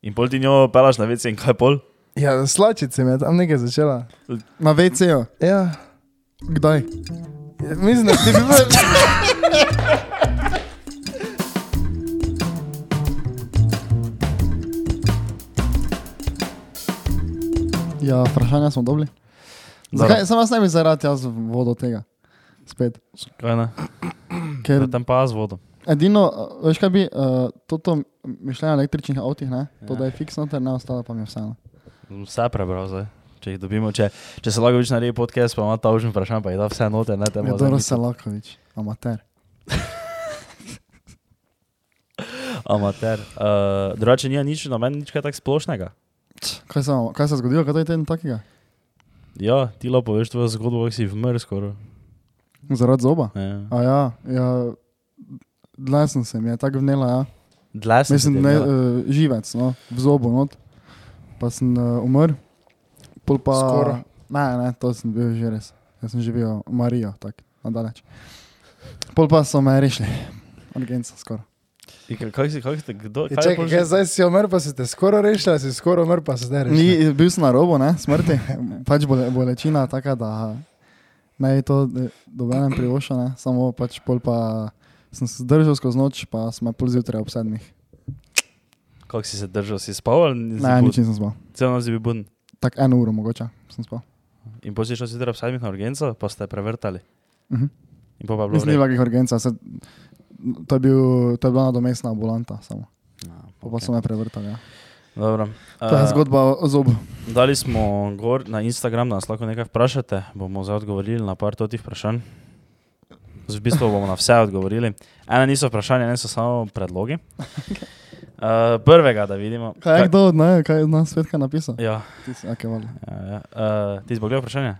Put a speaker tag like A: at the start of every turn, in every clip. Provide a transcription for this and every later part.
A: In pol ti njo pelaš na vece in kaj pol?
B: Ja, slačice me je tam nekaj začela.
C: Na VC-ju.
B: Ja,
C: Kdaj?
B: Ja, mislim, da ti bi bilo.
C: Ja, vprašanja smo dobili. Zakaj, sem vas ne bi zaradi jaz vodo tega. Spet.
A: Kaj ne?
C: Ker
A: Da tam pa z vodo.
C: edino, eh, veš kaj bi, uh, to mišljenje o električnih avtih, ne?
B: Ja.
C: To da je fiksno, ter ne ostalo pa mi je vseeno.
A: Vse prebral zdaj. Če jih dobimo, če, če se lahko več naredi podcast, pa ima ta užin vprašanje, pa je da vse note, ne
C: Je
A: temo.
C: Ja, dobro Selakovič, amater.
A: Amater. Uh, drugače ni nič, na meni nič kaj tako splošnega.
C: Kaj se, kaj se je zgodilo, kaj je teden takega?
A: Ja, ti lepo veš tvojo zgodbo, kako si vmrl skoraj.
C: Zaradi zoba.
A: Ja.
C: A ja, ja lesen sem, je tako vnela, ja.
A: Dlaj sem se
C: Mislim,
A: ti
C: ne,
A: je bila.
C: uh, živec, no, v zobu, not. pa sem uh, umrl. Pol pa...
B: Skoro.
C: Ne, ne, to sem bil že res. Jaz sem živel Marijo, tako nadaleč. Pol pa so me rešili, urgenca skoraj. eh,
A: In ka- Kako si, kako si, kdo, kaj
B: Ja,
A: je
B: Čakaj,
A: pol
B: kaj,
A: že-
B: zdaj si umrl, pa si te skoro rešil, si skoro umrl, pa si zdaj rešil.
C: Ni, bil sem na robu, ne, smrti. Pač bole, bolečina taka, da naj to eh, dobenem privoša, ne, samo pač pol pa sem se zdržal skozi noč, pa sem me pol zjutraj ob sedmih.
A: Kako si se držal, si spal ali nisi
C: Ne,
A: bud?
C: nič nisem spal.
A: Celo noč si bil bun.
C: Tako eno uro mogoče sem spal.
A: In potem si šel zjutraj ob sedmih na urgenco, pa ste prevrtali.
C: Mhm.
A: In pol pa je bilo
C: Mislim, ni
A: v redu.
C: velikih urgenca, se, to, je bil, to je bila nadomestna ambulanta, samo.
A: A,
C: Pa, okay. pa
A: No, okej.
C: so me prevrtali. Ja.
A: Dobro.
C: To je
A: Eh,
C: zgodba o- o zobu.
A: Dali smo gor na Instagram, da nas lahko nekaj vprašate. Bomo zdaj odgovorili na par totih vprašanj. V bistvu bomo na vse odgovorili. Ena niso vprašanja, ena so samo predlogi. Uh, prvega, da vidimo.
C: Kaj je kdo od nas, kaj je od nas svetka napisal?
A: Ja,
C: Ti si, okay, valjda.
A: ja, ja. Uh, ti si pogledal vprašanje?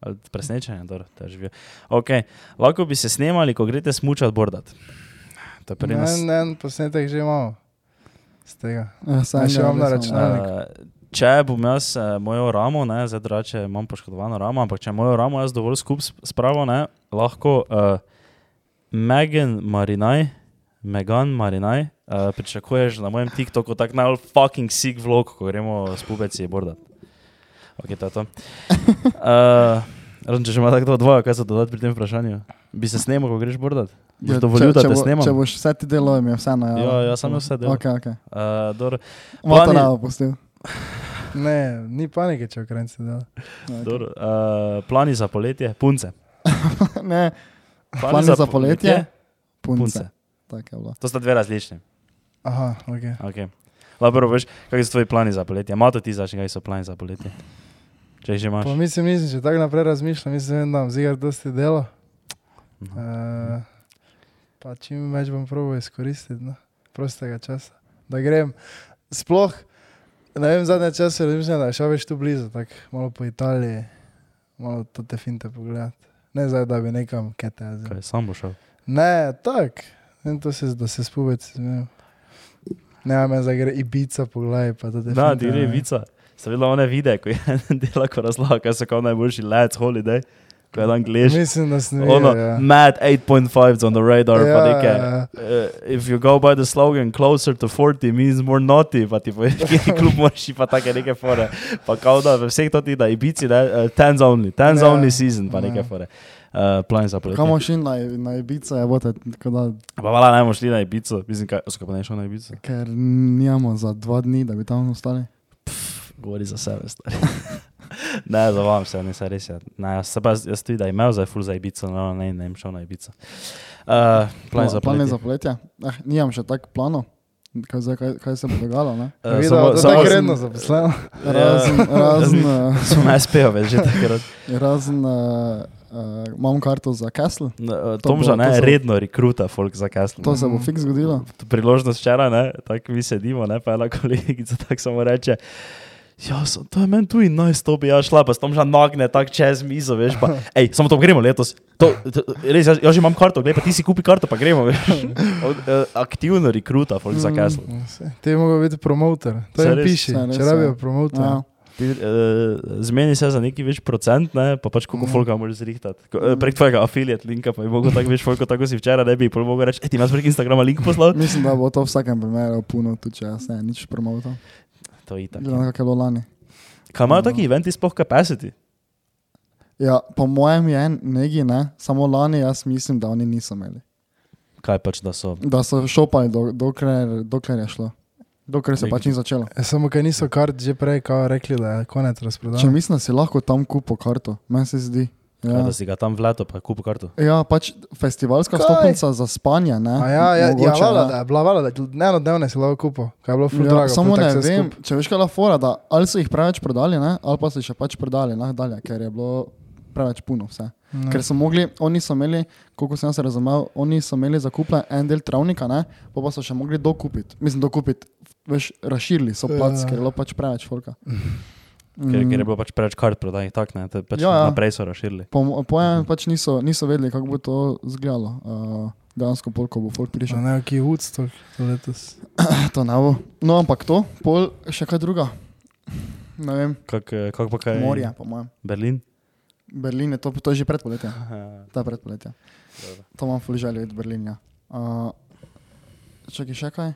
A: Ali Presenečenje, dobro, to je živijo. Okay. Lahko bi se snemali, ko greste smučati bordat. To je pri
B: Ne,
A: nas.
B: ne, posnetek že imamo. Z tega.
C: Ja, saj
B: Ne, še
C: ga
B: imam na
C: nisem,
B: računalniku.
C: ja.
A: Eh, Če bom jaz eh, mojo ramo, ne, zdaj drugače imam poškodovano ramo, ampak če mojo ramo jaz dovolj skup s- spravil, ne, lahko uh, Megan Marinaj, Megan Marinaj, uh, pričakuješ na mojem TikToku tak najbolj fucking sick vlog, ko gremo s pubeci bordat. Ok, to je to. Uh, Razen, če še ima tako dva, kaj se dodati pri tem vprašanju? Bi se snemal, ko greš bordat? Boš
C: Ja,
A: dovolil,
C: če-
A: da
C: če
A: te
C: bo-
A: snemam?
C: Če boš vse ti delo, mi je vseeno. Ja,
A: Ja, ja, samo vse delam.
C: Okay, okay.
A: Uh, dobro,
C: Mata
A: Plani-
C: ne bo pustil.
B: Ne, ni panike, če okrenci dela.
A: dobro, uh, plani za poletje, punce.
C: ne, plani za poletje, punce.
A: punce.
C: punce. Tak je bilo.
A: To sta dve različni.
B: Aha, ok.
A: Okay. Labro, veš, kakšni so tvoji plani za poletje? Mato ti znaš, kaj so plani za poletje? Če jih že imaš.
B: Pa mislim, nisem še tako naprej razmišljal, mislim, da imam zigar dosti delo.
A: Mhm.
B: Uh, pa čim več bom probal izkoristiti, no. prostega časa. Da grem. Sploh, ne vem, zadnje čase razmišljam, da je šel več tu blizu, tako malo po Italiji, malo to te finte pogledati. Ne zdaj, da bi nekam kete. jazil.
A: Kaj, sam bo šel.
B: Ne, tako. In to se, da se spubec. Ne, ne, me zagre ibica po glavi, pa da te.
A: Da, ti
B: finte,
A: gre
B: ne.
A: vica. Sem videl one videe, ko je en dela, ko razlaga, kaj so kot najboljši let's holiday, ko je dan glež.
B: Mislim, da sem
A: Ono,
B: videl, ja.
A: mad 8.5 on the radar, pa
B: Ja,
A: nekaj.
B: ja.
A: Uh, if you go by the slogan closer to 40 means more naughty, pa ti poveš, kje klub moraš, iti, pa take neke fore. Pa kao da v vseh totih, da ibici, ne, uh, tens only, tens
B: Ja.
A: yeah. only season, pa neke
C: Ja.
A: fore. Uh, plan za poletje.
C: Kamoš in na, na Ibiza je bote, tako da,
A: Pa vala ne bomo šli na Ibico, mislim, kaj, so kaj pa ne šel na Ibico.
C: ker nimamo za dva dni, da bi tam ostali.
A: Eh, Govori za sebe, stari. ne, zavam se, ne, se res je. Ne, jaz, se pa, jaz tudi, da imel zdaj ful za Ibico, no, ne, ne, šel na Ibico. Uh, plan za
C: plane
A: poletje.
C: za poletje. Eh, nimam še tako planov, kaj, zdaj- kaj, kaj se bo dogajalo. ne.
A: Eh,
B: Videl,
A: samo-
B: da
A: samo
B: tako
A: sem-
B: redno zaposlen.
A: Ja.
C: Razen, razen, eh,
A: Smo SPO, veš, že takrat.
C: Razen uh, uh, imam karto za Castle,
A: No, eh,
C: To bo-
A: Tomža,
C: to
A: ne,
C: so-
A: redno rekruta folk za Castle.
C: to se bo fiks zgodilo.
A: priložnost včeraj, ne, tako mi sedimo, ne, pa ena kolegica tako samo reče. Ja, sem, to je meni tu in naj stopi, ja šla, pa s tom že nagne tako čez mizo, veš, pa, hej, samo to gremo letos. To, to, res, jaz, jaz že imam karto, gledaj, pa ti si kupi karto, pa gremo, veš. Od, eh, Aktivno rekruta, folk za Castle.
B: Saj, Ti je mogel biti promotor, to
A: Saj
B: je
A: res,
B: piši,
C: saj res,
B: če rabijo
C: ja.
B: promotor.
C: Ja.
B: Ja.
A: Ti, eh, Zmeni se za neki več procent, ne, pa pač koliko
C: Mhm.
A: folka moraš zrihtati. Ko, eh, Prek tvojega afiliat linka, pa bi mogel tako več folko, tako si včeraj, ne bi, pa mogel reči, "Ej, ti imaš prek Instagrama link poslal.
C: Mislim, da bo to v vsakem primeru puno, tudi če jaz ne nič promoval.
A: To je itak. ja.
C: Glede na kak je bilo lani.
A: Kaj imajo
C: Ja.
A: taki eventi sploh capacity?
C: Ja, po mojem je negi, ne? samo lani jaz mislim, da oni niso imeli.
A: Kaj pač da so?
C: Da so šopali, do, dokler, dokler je šlo. Dokler se
A: Nek-
C: pač ni začelo.
B: Ja, Samo, ker niso kart že prej kao rekli, da je konec
C: Če
B: razprodaje.
C: mislim, da si lahko tam kupo karto, meni se zdi.
A: Kaj,
C: Ja.
A: da si ga tam vleto, pa kupo karto.
C: Ja, pač festivalska
B: Kaj?
C: stopnica za spanje. Ne?
B: A ja, ja, ja,
C: Mogoče,
B: vala,
C: ne.
B: da je bila, vala, da je enodnevne si lahko kupo, kaj je bilo ful
C: Ja,
B: drago.
C: samo
B: ful
C: ne
B: tako vse
C: vem,
B: skup.
C: če veš, kaj je bila fora, da ali so jih preveč prodali, ne? ali pa so jih še pač prodali ne? dalje, ker je bilo preveč puno vse.
B: Ne.
C: Ker so mogli, oni so imeli, koliko sem jaz razumel, oni so imeli zakupljen en del travnika, ne? pa pa so še mogli dokupiti. Mislim, dokupiti, veš, razširili so plac,
B: Ja.
C: ker je bilo pač preveč folka.
A: Ker,
C: Mm.
A: ker je bilo pač preveč kart prodanih, tako ne, to je pač
C: Ja, ja.
A: ja, ja. naprej so razširili.
C: Po mo- po mojem pač niso, niso vedeli, kako bo to izgledalo. Uh, dejansko, pol, ko bo folk
B: Še
C: prišel.
B: ne, ki je Woodstock letos.
C: To ne bo. No, ampak to, pol še kaj druga. Ne vem,
A: Kako kak pa kaj?
C: morje, po mojem.
A: Berlin.
C: Berlin je to, to je že predpoletje.
A: Aha,
C: Ta predpoletje.
A: dobro.
C: To imam ful želje od Berlina. Uh, čakaj, še kaj?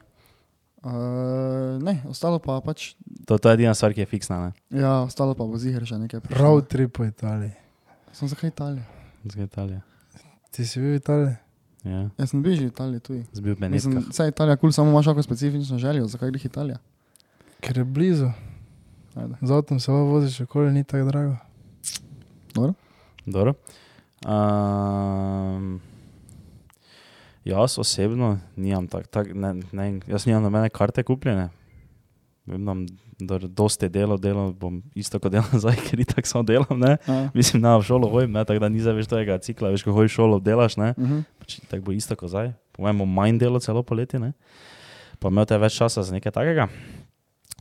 C: Uh, ne, ostalo pa pač,
A: To, to je edina stvar, ki je fiksna. Ne?
C: ja, ostalo pa bo zihar še nekaj. prišlo.
B: Road trip po Italiji.
C: Sem zakaj Italija?
A: Z Italije.
B: Ti si bil v Italiji?
A: Ja,
C: Jaz sem bil že v Italiji tudi.
A: zbil
C: Mislim,
A: Benetka.
C: vse Italija, kul, cool, samo imaš kakšno specifično željo, zakaj greh Italija?
B: Ker je blizu.
C: Ajde.
B: Z avtom se lahko voziš okoli, ni tako drago.
A: Dobro. Um, jaz osebno nimam tak, tak, ne, ne, jaz nimam nobene karte kupljene. Vem, nam, da dosti delo, delo bom isto kot delam zdaj, ker itak samo delam. Ne?
C: Ja.
A: Mislim, da v šolo hodim, ne, tako da ni zavež tega cikla, veš, ko hojiš v šolo, delaš. Ne?
C: Mhm.
A: Pač tako bo isto kot zdaj. Po mojem, bom manj delo celo poletje, ne? pa imel te več časa za nekaj takega.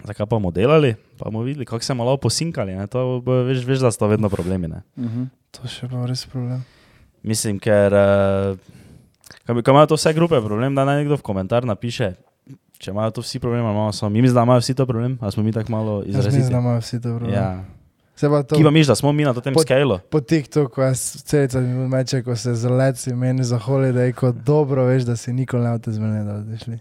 A: Zakaj pa bomo delali, pa bomo videli, kako se malo posinkali. ne, To bo, veš, veš, da so to vedno problemi. Ne?
C: Mhm.
B: To še pa res problem.
A: Mislim, ker uh, ko imajo to vse grupe problem, da naj nekdo v komentar napiše, če imajo to vsi problem, ali imamo samo mi, mislim, da imajo vsi to problem, ali smo mi tako malo
B: Jaz mislim,
A: izraziti.
B: da imajo vsi dobro.
A: Ja.
B: Se pa to
A: Ki pa miš, da smo mi na tem
B: Pod-
A: skalu.
B: po TikToku, jaz celica mi meče, ko se zaleci meni za holiday, ko dobro veš, da si nikoli ne boste zmeni, da boste šli.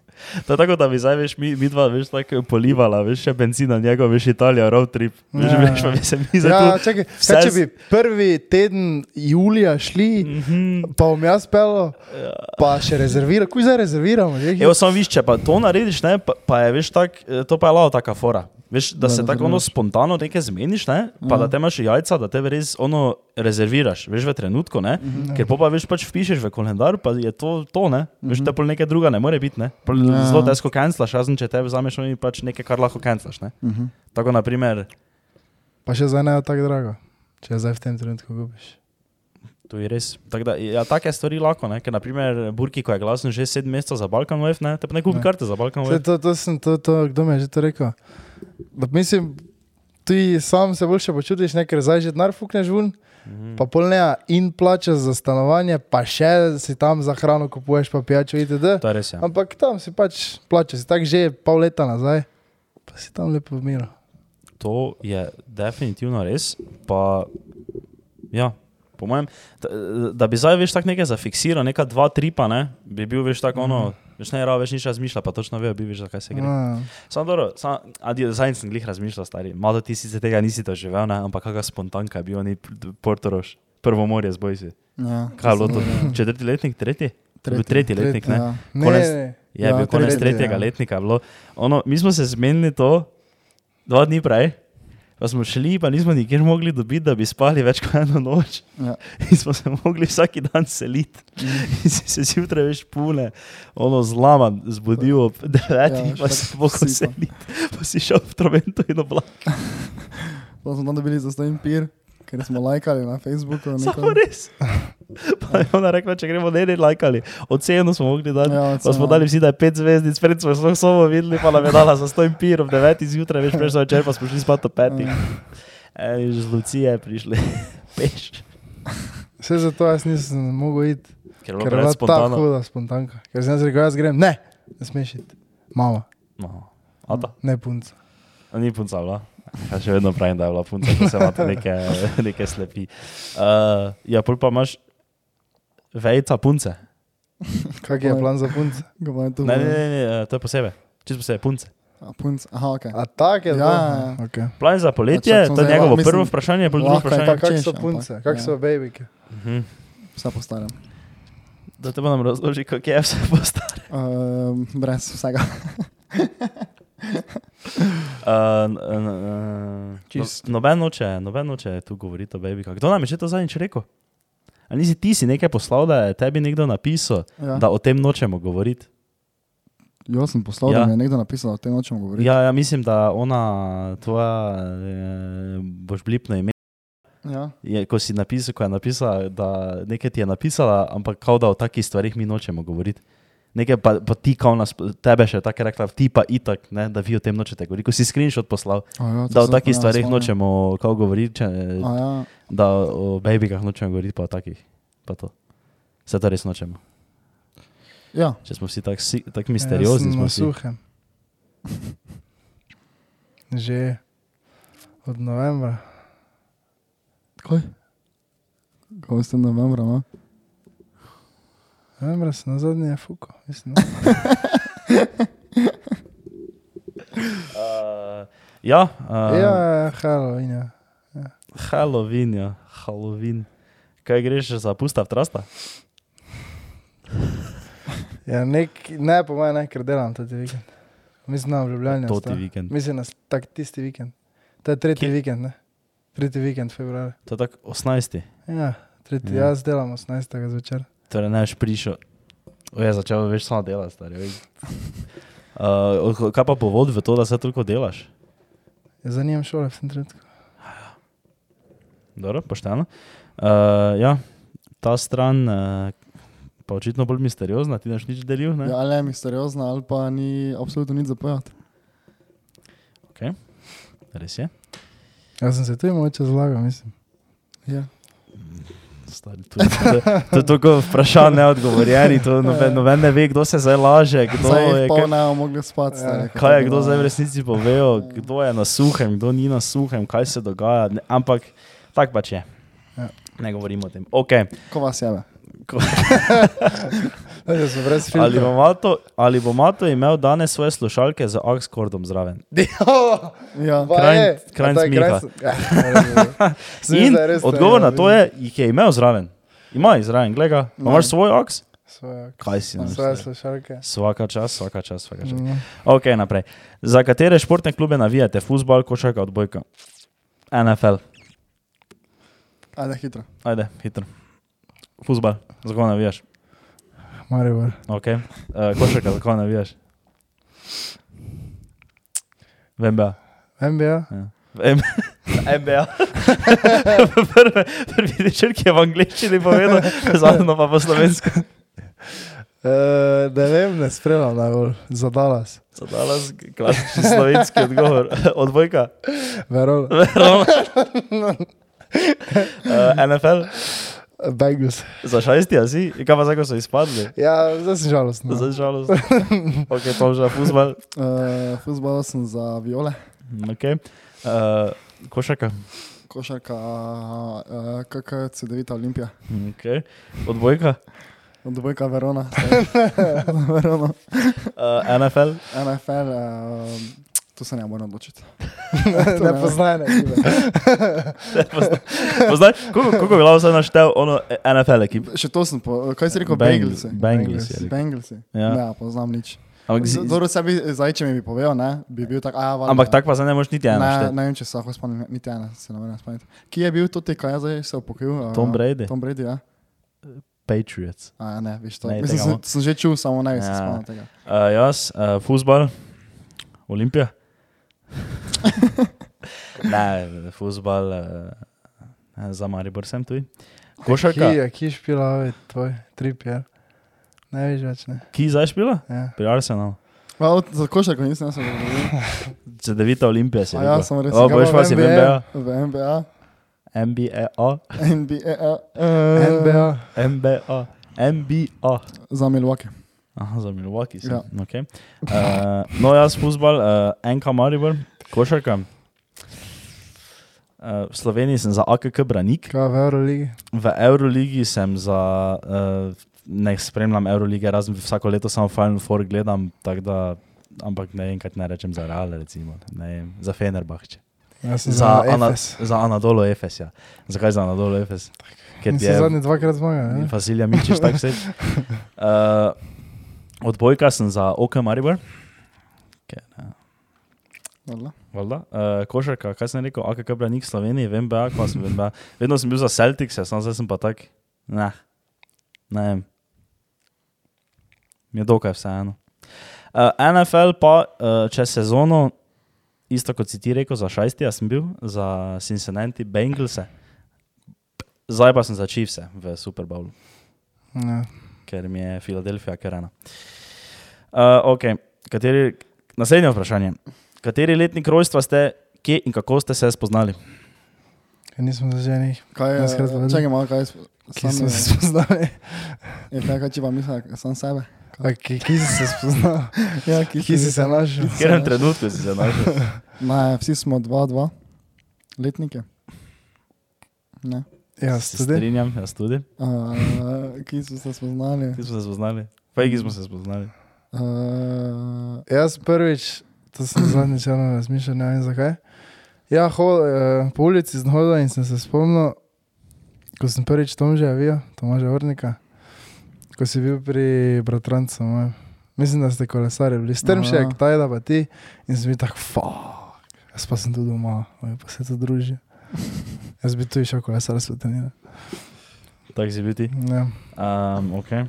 A: To je tako, da bi zdaj, veš, mi, mi dva, veš, tako polivala, veš, še benzina, njegov, veš, Italija, road trip. Veš,
B: Ja.
A: ja. veš, pa bi se mi zdaj.
B: Ja,
A: tu-
B: čakaj,
A: vse
B: kaj, če
A: s-
B: bi prvi teden julija šli,
A: Mhm.
B: pa bom jaz pel,
A: Ja.
B: pa še rezerviral, kuj zdaj rezerviramo. že?
A: Evo, samo viš, če pa to narediš, ne, pa, pa je, veš, tak, eh, to pa je lao taka fora. Veš, da
C: Da
A: se
C: Ja, ne
A: tako ono
C: zagrevaš.
A: spontano nekaj zmeniš, ne, pa
C: Mhm.
A: da te imaš jajca, da te res ono rezerviraš, veš, v trenutku, ne,
C: Ja.
B: Mhm.
A: ker pol pa veš, pač vpišeš v koledar, pa je to, to ne, veš,
C: Mhm.
A: te pol nekaj druga ne more biti, ne, Pol
C: Ja.
A: zelo težko kanslaš, razen če te vzameš in pač nekaj, kar lahko kanslaš, ne.
C: Mhm.
A: Tako naprimer,
B: Pa še zdaj ne je tako drago, če jo zdaj v tem trenutku gubiš.
A: to je res. Tako da, ja, take stvari lahko, ne, ker naprimer Burki, ko je glasen že sedem mesecev za Balkan Wave, ne, te pa ne kupi
B: Ja.
A: karte za Balkan E
B: Vse
A: Wave.
B: to, to sem, to, to, kdo mi je že to rekel? Da, mislim, ti sam se boljše počutiš, ne, ker zdaj že denar fukneš ven,
A: Mhm.
B: pa polneja in plačaš za stanovanje, pa še si tam za hrano kupuješ, pa pijačo itd.
A: To je res, ja.
B: Ampak tam si pač plačaš, si tako že pol leta nazaj, pa si tam lepo v miru.
A: To je definitivno res. Pa, ja, po mojem, da, da bi zdaj veš tako nekaj zafiksiral, neka dva tripa, ne, bi bil veš tako ono, veš ne rado več nič razmišlja, pa točno ve, bi veš, zakaj se gre.
B: Ja,
A: Samo dobro, sam, adi, zdaj sem glih razmišljal, stari, malo ti sicer tega nisi doživel, ne, ampak kakšna spontanka je bil oni Portoroš, prvo morje z Bojsi.
C: Ja,
A: Kaj je bilo to?
C: sem videl, ja.
A: Četrti letnik, tretji? To je bil tretji letnik, ne?
C: Ja.
B: Ne,
A: Konec-
B: ne,
A: Je
C: Ja,
A: ja, bil konec
C: tretji,
A: tretjega
C: ja.
A: ja. letnika. je Bilo, ono, mi smo se zmenili to dva dni prej, pa smo šli, pa nismo nikjer mogli dobiti, da bi spali več kot eno noč.
C: Ja. Mm.
A: In smo se mogli vsak dan seliti. In si se zjutraj veš pune, ono zlaman, zbudil ob devetih,
C: Ja,
A: ja, pa
C: še
A: si
C: tako
A: mogel
C: sipa.
A: seliti, pa si šel v Tromento in oblak.
C: To smo tam dobili za stojen pir, ker smo lajkali na Facebooku.
A: Samo res. Pa je ona rekla, če gremo ne, ne lajkali. Oceno smo mogli dati.
C: Ja,
A: Pa smo dali vsi, da je pet zvezdic, pred smo smo samo videli, pa nam je dala za stojim pirom, deveti zjutraj, veš, prejšnji večer pa smo šli spat ob petih.
C: Mm.
A: Ej, iz Lucije prišli, peš.
B: vse zato jaz nisem mogel iti,
A: Ker je bilo
B: ker je bila
A: preveč
B: ta
A: spontano.
B: huda spontanka. Ker sem jaz rekel, jaz grem, ne, ne smeš iti. Mama,
A: No. Ata,
B: ne punca.
A: a ni punca bila. Ja, še vedno pravim, da je bila punca, ko se imate neke, neke slepi. Uh, ja, pol pa imaš vejca punce.
B: Kak je plan za punce?
C: Govaj, to
A: Ne, eh, ne,
C: bo-
A: ne, ne, to je posebej. Čisto posebej, punce.
C: A punc, aha, ok.
B: A tako je
C: Ja,
B: to?
C: ja, ja.
B: Okay.
A: Plan za
C: čak
A: poletje, to
C: sem
A: je
C: zdaj-
A: njegovo
C: mislim,
A: prvo vprašanje, pol drugo
C: lahko je
A: vprašanje.
B: Pa
C: Ampak
B: kako so
C: češ, ampak,
B: punce, kako
C: ja.
B: so babike?
A: Mhm.
C: Vse po starem.
A: Da te bom razložil, kako je vse postalo.
C: Uh, brez vsega.
A: Uh, n- n- n- no,
C: Čist.
A: noben noče, noben noče tu govoriti o baby. Kdo nam je še to zadnjič rekel? Ali nisi ti si nekaj poslal, da je tebi nekdo napisal,
C: Ja.
A: da o tem nočemo govoriti?
C: Jo sem poslal,
A: Ja.
C: ja. da mi je nekdo napisal, da o tem nočem govoriti.
A: Ja, ja, mislim, da ona tvoja, eh, boš blipno ime.
C: Ja.
A: Je, ko si napisal, ko je napisala, da nekaj ti je napisala, ampak kao da o takih stvarih mi nočemo govoriti. Nekaj pa, pa ti, kao nas, tebe še tako je rekla, ti pa itak, ne, da vi o tem nočete govoriti. Ko si screenshot poslal,
C: A ja, to
A: da o
C: sem pa
A: takih
C: ne
A: stvarih
C: spomnil.
A: nočemo kao govoriti, če,
C: A ja.
A: da o o babykah nočemo govoriti, pa o takih. Pa to. Vse to res nočemo.
C: ja,
A: Če smo vsi tako si- tako misteriozni, smo
B: ja,
A: vsi.
B: suhem. Že od novembra.
C: kaj? Ko ste novembra, no?
B: Novembra sem na zadnje fuko. Mislim,
A: Uh, ja,
B: ja,
A: uh,
B: ja, Halloween. Ja.
A: Halloween, ja, Halloween. Kaj greš za pusta trasta?
B: Ja, nek, ne, po mojem, ne, ker delam ta vikend. Mislim, da je Ljubljana.
A: To ti vikend.
B: Mislim, da je tak tisti vikend. To je tretji
A: Kje?
B: Kje? vikend, ne? Tretji vikend februarja.
A: To je tako 18.
B: Ja, tretji,
A: Ja.
B: ja. jaz delam 18. zvečer.
A: Torej, ne, veš prišel. O, jaz začel več samo delati, stari. oj. Uh, od- kaj pa povod v to, da se toliko delaš?
B: Ja, zanimam šole v tem trenutku.
A: Dobro, pošteno. Uh, ja, ta stran, uh, pa očitno bolj misteriozna, ti naš nič delil, ne?
C: Ja, ali je misteriozna, ali pa ni absolutno nič zapojati.
A: Res je.
B: Jaz Ja, sem se tu moče zlagal, mislim.
C: Ja.
A: Stari, to, to, to je toliko vprašanj neodgovorjenih, to noben, noben ne ve, kdo se zdaj laže, E, kdo
C: Zdaj
A: je
C: jih
A: kaj-
C: pol ne bomo mogli spati.
B: Ja.
C: stari, ko
A: Kaj je
C: to
A: kdo
C: bilo,
A: zdaj v
C: ne.
A: resnici povejo, kdo je na suhem, kdo ni na suhem, kaj se dogaja, ne, ampak tako pač je.
B: Ja.
A: Ne govorimo o tem. Okay.
C: Ko vas jebe.
B: Ja, sem brez filma.
A: Ali, bo Mato, ali bo Mato imel danes svoje slušalke z Oxfordom zraven?
C: Ja.
A: Krajn- krajn smiha. In odgovor na to je, jih je imel zraven. Ima jih zraven, gledaj,
C: Ja.
A: imaš svoj oks?
B: Svoje,
A: Kaj si nam? Ja,
B: svoje slušalke.
A: Vsaka čas, vsaka čas, vsaka čas.
B: Mm.
A: Ok, naprej. Za katere športne klube navijate? Futbol, košarka, odbojka? NFL.
C: Ajde, hitro.
A: Ajde, hitro. Futbol, zakaj navijaš?
B: Maribor.
A: Okay. Uh, košarka, zakaj navijaš? V NBA.
B: MBA.
A: V M- NBA. Prve, prvi večer, ki je v angleščini povedal, zadnjo pa v slovensko.
B: Uh, ne vem, ne spremljam najbolj. Zadala se.
A: Zadala si klasični slovenski odgovor. Odbojka.
B: Verol.
A: Verona. Uh, NFL,
B: Begus.
A: za šesti, a si, kaj pa zdaj, ko so izpadli?
B: Ja, zdaj sem
C: No.
B: žalosten.
A: Za žalost. Ok, to že fuzbal.
C: Uh, Fuzbal sem za viole,
A: Okay. Uh, košarka.
C: košarka, uh, KKC, 9 Olimpija,
A: Okay. Mm, Odbojka.
C: odbojka Verona, stari. Verona.
A: Uh, NFL.
C: NFL, uh, tu se ne morem odločiti.
B: ne, ne poznaj ne.
A: Pozna- Poznaš, koliko, koliko je bilo vse naštel ono eh, NFL ekip?
C: Še to sem, po, kaj si rekel,
A: Bengals-
C: Bengalsi?
A: Bengals je
B: Bengals.
A: rekel.
C: Bengalsi.
A: Ja.
C: Ja. Ne, poznam nič.
A: Ampak, z- z-
C: Zelo sebi, zdaj, če mi bi povedal, ne, bi bil tak, a ja, valjda.
A: ampak tako pa zdaj ne moreš niti ena
C: Ne,
A: našteti.
C: ne vem, če se lahko spomnim, niti ena se ne morem spomniti. Ki je bil to te, kaj je zdaj se upokojil? a-
A: Tom Brady,
C: no, Tom Brady, ja.
A: Patriots.
C: A, ne, veš, to
A: Ne,
C: je. Mislim,
A: tega
C: sem, sem že čul, samo ne bi se
A: Ja.
C: spomnil tega.
A: Uh, jaz, uh, fuzbal, Olimpija. ne, fuzbal, uh, za Maribor sem tu. Košarka,
B: Ki
A: ki,
B: je, ki špila, ovi, tvoj trip, ja. Ne veš več, ne.
A: ki zdaj špila?
B: Ja.
A: Pri Arsenalu.
C: Ma, od- Za košarko nisem jaz govoril.
A: Za devita Olimpija si.
C: A ja,
A: rekel.
C: sem res.
A: O,
C: Kaj
A: boš
B: pa
A: pa si v
B: NBA?
A: NBA.
C: V NBA,
A: NBA.
C: NBA,
A: E.
C: uh,
B: MBA.
A: NBA. NBA.
C: za Milwaukee.
A: Aha, za Milwaukee sem. Ja.
C: Ja.
A: Okay. Uh, no, jaz fuzbal, uh, enka Maribor, košarka. Uh, v Sloveniji sem za AKK Branik,
B: Kaj v Euroligi?
A: v Euroligi sem za. eh, Uh, ne spremljam Eurolige, razen vsako leto samo Final Four gledam, tako da ampak ne vem, kaj ne rečem za Real, recimo, ne vem, za Fenerbahče.
B: Jaz Ja, sem
A: Za, Ana,
B: Efes.
A: za Anadolo Efes. Ja. Zakaj za Anadolo Efes? Ker
B: Mislim,
A: je
B: zadnji dvakrat zmagal. ne?
A: Vasilija Mičiš tako se. Uh, odbojka sem za OK Maribor. Ker, eh,
C: Dobro.
A: Valda. Uh, košarka, kaj sem rekel, AKK branik Slovenije, vem, BA, kva sem, vem, BA. Vedno sem bil za Celtics, jaz sem, zdaj sem pa tak, ne, ne vem. Mi je dokaj vseeno. Uh, NFL pa, uh, čez sezono, isto kot si ti rekel, za šajsti, jaz sem bil, za Cincinnati, Bengalse. Zdaj pa sem za Chiefse v Super Bowlu,
B: Ja.
A: ker mi je Filadelfija kerana. Uh, okay. Kateri, naslednje vprašanje. Kateri letnik rojstva ste, kje in kako ste se spoznali?
B: Ker nismo zaženi,
C: Kaj je,
B: Jaz krat povedal.
C: čakaj malo, kaj je, sp-
B: ki smo
C: sam
B: se spoznali.
C: je- je kaj, kaj če pa misliš, sam sebe.
B: A, ki, ki si se spoznal,
C: Ja,
B: ki si se našel.
A: V katerem trenutku si se znašel?
C: Ne, vsi smo dva, dva letnike. Ne.
B: Ja,
A: Se
B: tudi.
A: Strinjam, jaz tudi.
C: Uh, ki so se spoznali.
A: Ti smo se spoznali. Pejki smo se spoznali.
C: Uh,
B: Jaz prvič, to sem zadnjič ravno razmišljal, ne vem zakaj. Ja, hol, eh, po ulici sem hodil in sem se spomnil, ko sem prvič Tomža videl, Tomaža Vrnika, ko si bil pri bratrancu mojem. Mislim, da ste kolesarji bili, strmšek,
C: Aha.
B: tajda pa ti in sem bil tak, fuck, jaz pa sem tu doma, oj, pa se tu druži. Jaz bi tu išel kolesarstvo trenirati.
A: Tako si bil ti.
B: Ja,
A: Um, okay.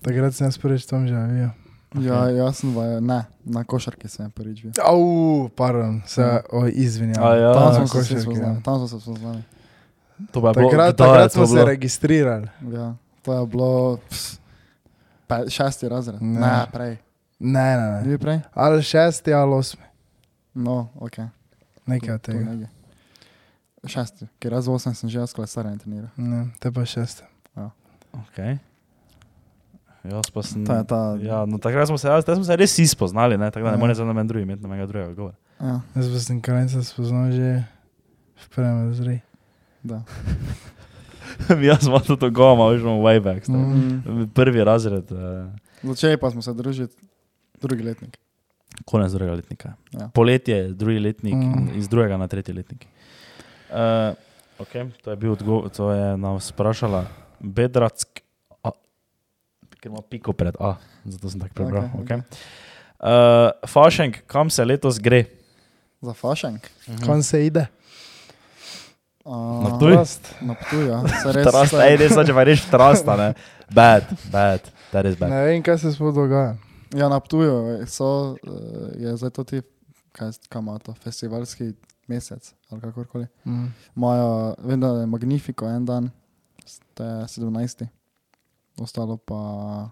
B: takrat sem jaz prvič Tomža videl.
C: ja, jaz sem v, ne, na košarki sem je prvič bil.
B: Au, pardon, se oj, izvinjam.
A: A ja.
C: Ja. Tam
A: na
C: smo se vsi
B: košarki, ja.
C: spoznali. Tam smo se spoznali.
A: To pa je bilo
B: Takrat,
A: kdaj je
B: takrat
A: to
B: smo se
A: bilo?
B: registrirali.
C: Ja, to je bilo pss, pe, šesti razred.
B: Ne.
C: Ne, ne prej.
B: Ne, ne,
C: Ni
B: ne.
C: bil prej?
B: Ali šesti, ali osmi,
C: No, ok.
B: nekaj od tega.
C: nekaj. Šesti, ker jaz v osem sem že jaz kolesarjen treniral.
B: Ne, te pa šesti.
A: Okay. Jaz pa sem.
C: To je ta.
A: Ja, no, takrat smo se, jaz, zdaj smo se res vsi spoznali, ne? tako da ne
C: Ja.
A: morem za nami drugim imeti nobenega drugega govora.
C: ja
B: Jaz pa sem krajnica spoznal že v prvem razredu.
C: da.
A: Jaz smo to dogoma, veš, imamo way back. Mm.
C: Mm.
A: Prvi razred, uh,
C: Začeli pa smo se družiti, drugi letnik.
A: konec drugega letnika. Ja.
C: Ja.
A: Poletje, drugi letnik, mm.
B: Mm.
A: iz drugega na tretji letnik. Uh, okay, to je bil odgovor, to je nas vprašala Bedrack, a, ker ima piko pred A, zato sem tako prebral.
C: Okej,
A: Okay, okay. okay. uh, Fašenk, kam se letos gre?
C: Za fašenk.
A: Ja.
B: Kon se ide? No,
C: Uh,
A: Na Ptuj?
B: Rast.
C: Na Ptuju, ja. Se res,
A: Trast,
C: se-
A: ej, res, če pa reš trasta, ne. Bad, bad, that is bad.
B: Ne vem, kaj se sploh dogaja.
C: Ja, na Ptuju so, eh, je zdaj to ti, kaj s- kaj ima to, festivalski mesec ali kakorkoli.
B: Mm.
C: Imajo, vem, da je Magnifico en dan, to je 17. Ostalo pa.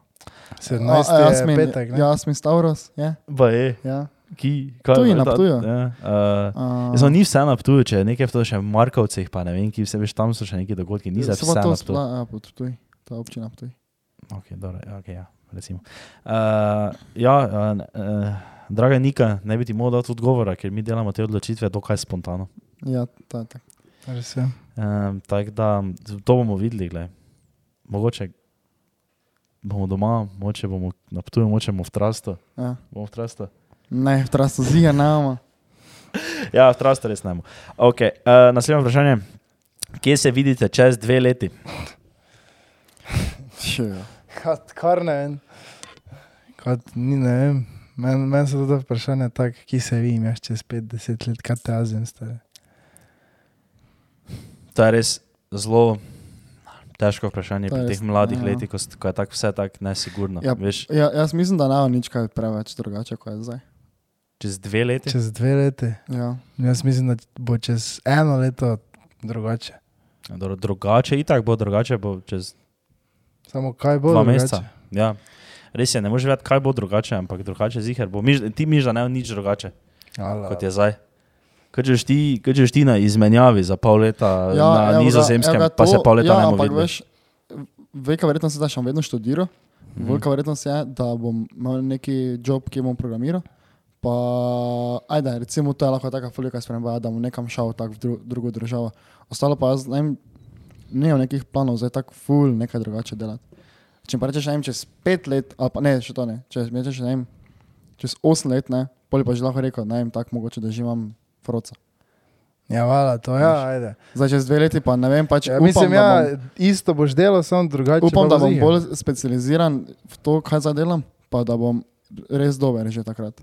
B: 17.
C: A,
B: A,
C: Jasmin-
B: je petek, ne? ja.
C: Jasmin Stavros je.
A: Baje,
C: Ja.
A: E, ki, kaj
C: Ptuj, na
A: ta-
C: Ptuju.
A: Ja, uh,
C: Uh,
A: Zdaj, ni vse na Ptuju, če je nekaj v to še v Markovcih, pa ne vem, ki se veš, tam so še neki dogodki, ni za
C: se
A: vse
C: pa
A: na
C: to
A: Ptuju.
C: spla, ja, potuj, ta občina potuj.
A: Okay, dobro, ja, okay, ja, recimo. uh, ja, uh, uh, draga Nika, ne bi ti mogla dati odgovora, ker mi delamo te odločitve dokaj spontano.
C: Ja, ta, ta.
B: Res je.
A: Um, Tako da to bomo videli. Glej. Mogoče bomo doma, mogoče bomo na Ptuju, mogoče bomo v Trastu.
C: Ja.
A: Bomo v Trastu.
C: Ne, trasto zija nama.
A: Ja, v Trastu res ne bomo. Okay, uh, naslednje vprašanje. Kje se vidite čez dve leti?
C: Še, ja.
B: Kad, kar ne vem. Kad, ni, ne vem. Meni men so to vprašanje tako, ki se vi imaš čez 5-10 let, kaj te azim stare.
A: To je res zelo težko vprašanje
C: To
A: pri
C: je
A: teh
C: res,
A: mladih
C: ja.
A: letih, ko, s- ko je tako vse tako nesigurno.
C: Ja.
A: Veš,
C: Ja, jaz mislim, da ne bo nič kaj preveč drugače, kot je zdaj.
A: čez dve leti.
B: Čez dve leti.
C: Ja.
B: Jaz mislim, da bo čez eno leto drugače.
A: Dobro, drugače, itak bo drugače, bo čez
B: Samo kaj bo?
A: dva
B: drugače?
A: meseca. Ja. Res je, ne moreš vedeti, kaj bo drugače, ampak drugače ziger bo. Miš, ti miš, da ne bo nič drugače,
B: Ala.
A: kot je zdaj. Kaj češ ti, kaj češ ti na izmenjavi za pol leta ja, na
C: evo ga-
A: evo, nizozemskem,
C: evo
A: evo,
C: ga
A: pa se
C: to,
A: pol leta
C: ja,
A: ne
C: ampak
A: moreš.
C: veš, Velika verjetnost je, da še bom vedno študiral, mm
A: Mhm.
C: -hmm. velika verjetnost je, da bom imel neki job, ki bom programiral. Pa, ajde, recimo, to je lahko taka folika sprememba, da bom nekam šel tako v dru, drugo državo. Ostalo pa jaz ne vem, ne v nekih planov, zdaj tako ful, nekaj drugače delati. Če mi pa rečeš, ne vem, čez pet let, ali pa ne, še to ne, če mi rečeš, ne vem, čez 8 let, ne, pol bi pa že lahko rekel, naj jim tako mogoče, da že imam froca.
B: Ja, vala, to ja, ajde.
C: Zdaj, čez dve leti pa ne vem, pač
B: Ja,
C: upam,
B: mislim,
C: da bom-
B: ja, isto boš delal, samo drugače.
C: Upam, da
B: pa bo
C: bom
B: ziher.
C: bolj specializiran v to, kaj zdaj delam, pa da bom res dober že takrat.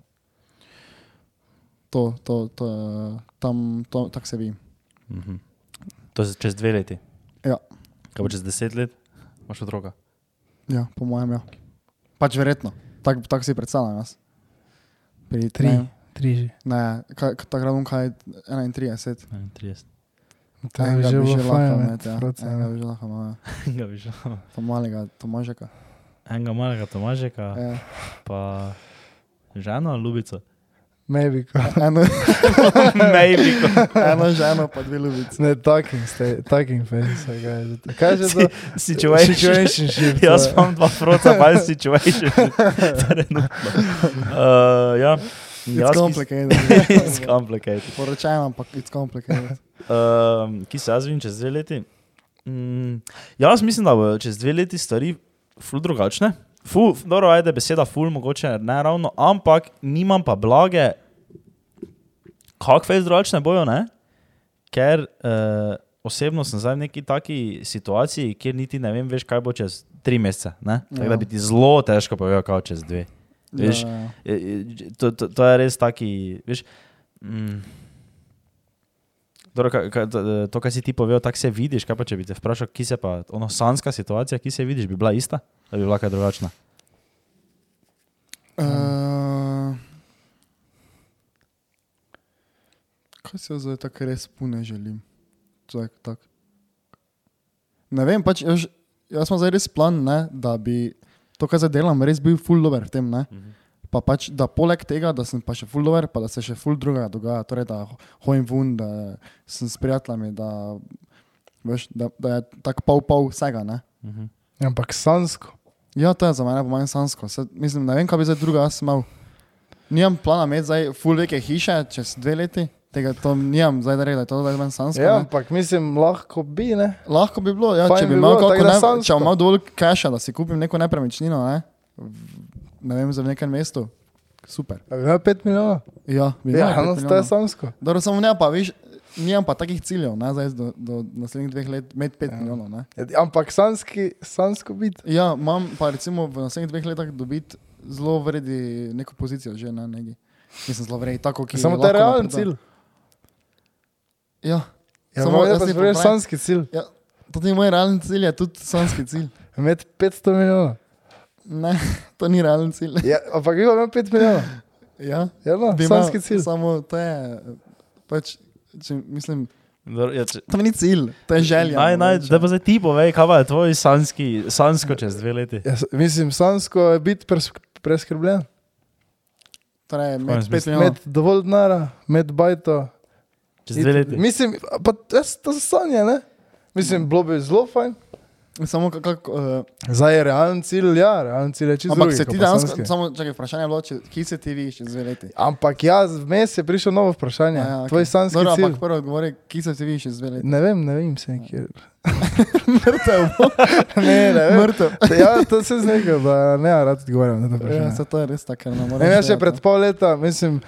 C: To, to, to, eh, tam, to, tako se vidim.
A: Mhm. To je čez dve leti.
C: Ja.
A: Kaj bo čez deset let, imaš otroka.
C: Ja, po mojem, ja. Pač verjetno. Tako tak si predstavljam jaz. Pri
B: Tri.
C: Ne,
B: Tri že.
C: ne kaj- k- takrat bom kaj 31.
A: 30.
B: To bi
C: Enega
B: že bilo fajn,
C: lahko
B: med
C: imeti, ja.
B: froca,
C: Enega
B: ne.
C: bi že lahko imel, ja.
A: Enega bi šel.
C: To malega Tomažeka.
A: Enega malega Tomažeka,
C: Ja.
A: pa ženo ali ljubico.
B: Maybe. ko-
C: Eno,
A: Maybe. ko-
C: eno ženo, pa dve ljubice.
B: Ne, talking, ste, talking face. kaj je že to? Kaj je že to?
A: Situation.
B: Situationship, to
A: Jaz
B: je.
A: imam dva frota, pa je situation. Trenutno. Uh, ja.
C: It's
A: mislim-
C: complicated.
A: It's complicated.
C: Poročajem, ampak it's complicated.
A: Um, ki se jaz vidim čez dve leti. Mm, jaz mislim, da bo čez dve leti stvari ful drugačne. Ful, dobro, ajde, beseda ful, mogoče ne ravno, ampak nimam pa blage, kakve drugačne bojo, ne? Ker uh, osebno sem zdaj v neki taki situaciji, kjer niti ne vem, veš, kaj bo čez tri mesece. ne. Tako da
C: Ja.
A: bi ti zelo težko povedal, kaj bo čez dve. Veš,
C: Ja, ja, ja.
A: Je- je- To, to, to je res taki, veš. Mm, Dobro, ka, ka, to- to, kar si ti povedal, tako se vidiš. Kaj pa če bi te vprašal, ki se pa, ono sanska situacija, ki se vidiš, bi bila ista, ali bi bila kaj drugačna?
C: Uh, kaj se jaz zdaj tako res pune želim? Tak, tak. Ne vem, pač jaz, jaz imam zdaj res plan, ne, da bi to, kar zdaj delam, res bil full dober v tem. Ne? Pa pač, da poleg tega, da sem pa še full dober, pa da se še full druga dogaja, torej da ho- hodim ven, da sem s prijatelji, da, veš, da, da je tako pol pol vsega. Ne?
A: Mhm.
B: Ampak sansko.
C: Ja, to je za mene, po mojem, sansko. Saj, mislim, ne vem, kaj bi zdaj druga jaz imel. Nimam plana imeti zdaj full veke hiše čez dve leti, tega to nimam zdaj, da rečem, da je to zdaj meni sansko.
B: Ja,
C: Ja.
B: ampak mislim, lahko bi, ne?
C: Lahko bi bilo, ja,
B: Fajn
C: če bi
B: bi
C: imel,
B: bilo,
C: kako
B: tako da
C: ne,
B: sanjsko.
C: če bi imel dovolj keša, da si kupim neko nepremičnino, ne, v- ne vem, za v nekem mestu. Super.
B: A bi imel 5 milijonov?
C: Ja, bi imel
B: Ja,
C: pet
B: no, to je
C: milijonov.
B: sansko.
C: Dobro, samo ne pa, viš, nimam pa takih ciljev, ne, zdaj do, do naslednjih dveh let, med 5 ja. milijonov. Ne.
B: Ampak sanski, sansko biti.
C: Ja, imam pa recimo v naslednjih dveh letih dobiti zelo vredi neko pozicijo, že na neki. Mislim, zelo vredi, tako ki
B: Samo to
C: lahko
B: je realen
C: napreda-
B: cilj.
C: Ja,
B: Ja,
C: Samo
B: Samo
C: jaz
B: jaz
C: ti
B: sem
C: bom
B: rekel,
C: pravil-
B: sanski cilj.
C: to ni moj realen cilj, je tudi sanski cilj.
B: Imeti 500 milijonov.
C: Ne, to ni realen cilj.
B: Ja, ampak bi imel 5 milijonov.
C: Ja,
B: Ja, no,
C: bi imel-
B: sanski cilj.
C: Samo to je, pač, če, mislim,
A: Dobro, ja, če-
C: to ni cilj, to je želja.
A: Naj, naj,
C: mogoče.
A: da pa zdaj ti povej, kaj pa je tvoj sanski, sansko čez dve leti.
B: Ja, s- mislim, sansko je biti pres, preskrbljen.
C: Torej,
A: Konec
C: med 5
A: misli.
C: milijonov.
B: Imeti dovolj denara, imeti bajto.
A: Čez
B: iti-
A: dve leti.
B: Mislim, a pa jaz, to so sanje, ne?
C: Mm.
B: Mislim, bilo bi zelo fajn.
C: Samo kako, kak, uh,
B: Zdaj je realen cilj, ja, realen cilj je čisto.
C: ampak
B: drugi,
C: se
B: kot
C: ti
B: pa sanjski.
C: dejansko, samo čakaj, vprašanje je bilo, če- kje se ti vidiš čez dve leti.
B: Ampak ja, vmes je prišlo novo vprašanje.
C: Ja, ja,
B: Tvoj
C: okej.
B: sanski
C: Dobro,
B: cilj.
C: Ampak prvo odgovori, kje se ti vidiš čez dve leti.
B: Ne vem, ne vem se nikjer.
C: Mrtev.
B: Ne, ne vem.
C: Mrtev.
B: Ja, to se znika, da ne rad odgovarjam na to
C: Ja,
B: vprašanje.
C: se to je res tako, ker ne moreš.
B: Ne, jaz še
C: vedeti,
B: pred pol leta, mislim,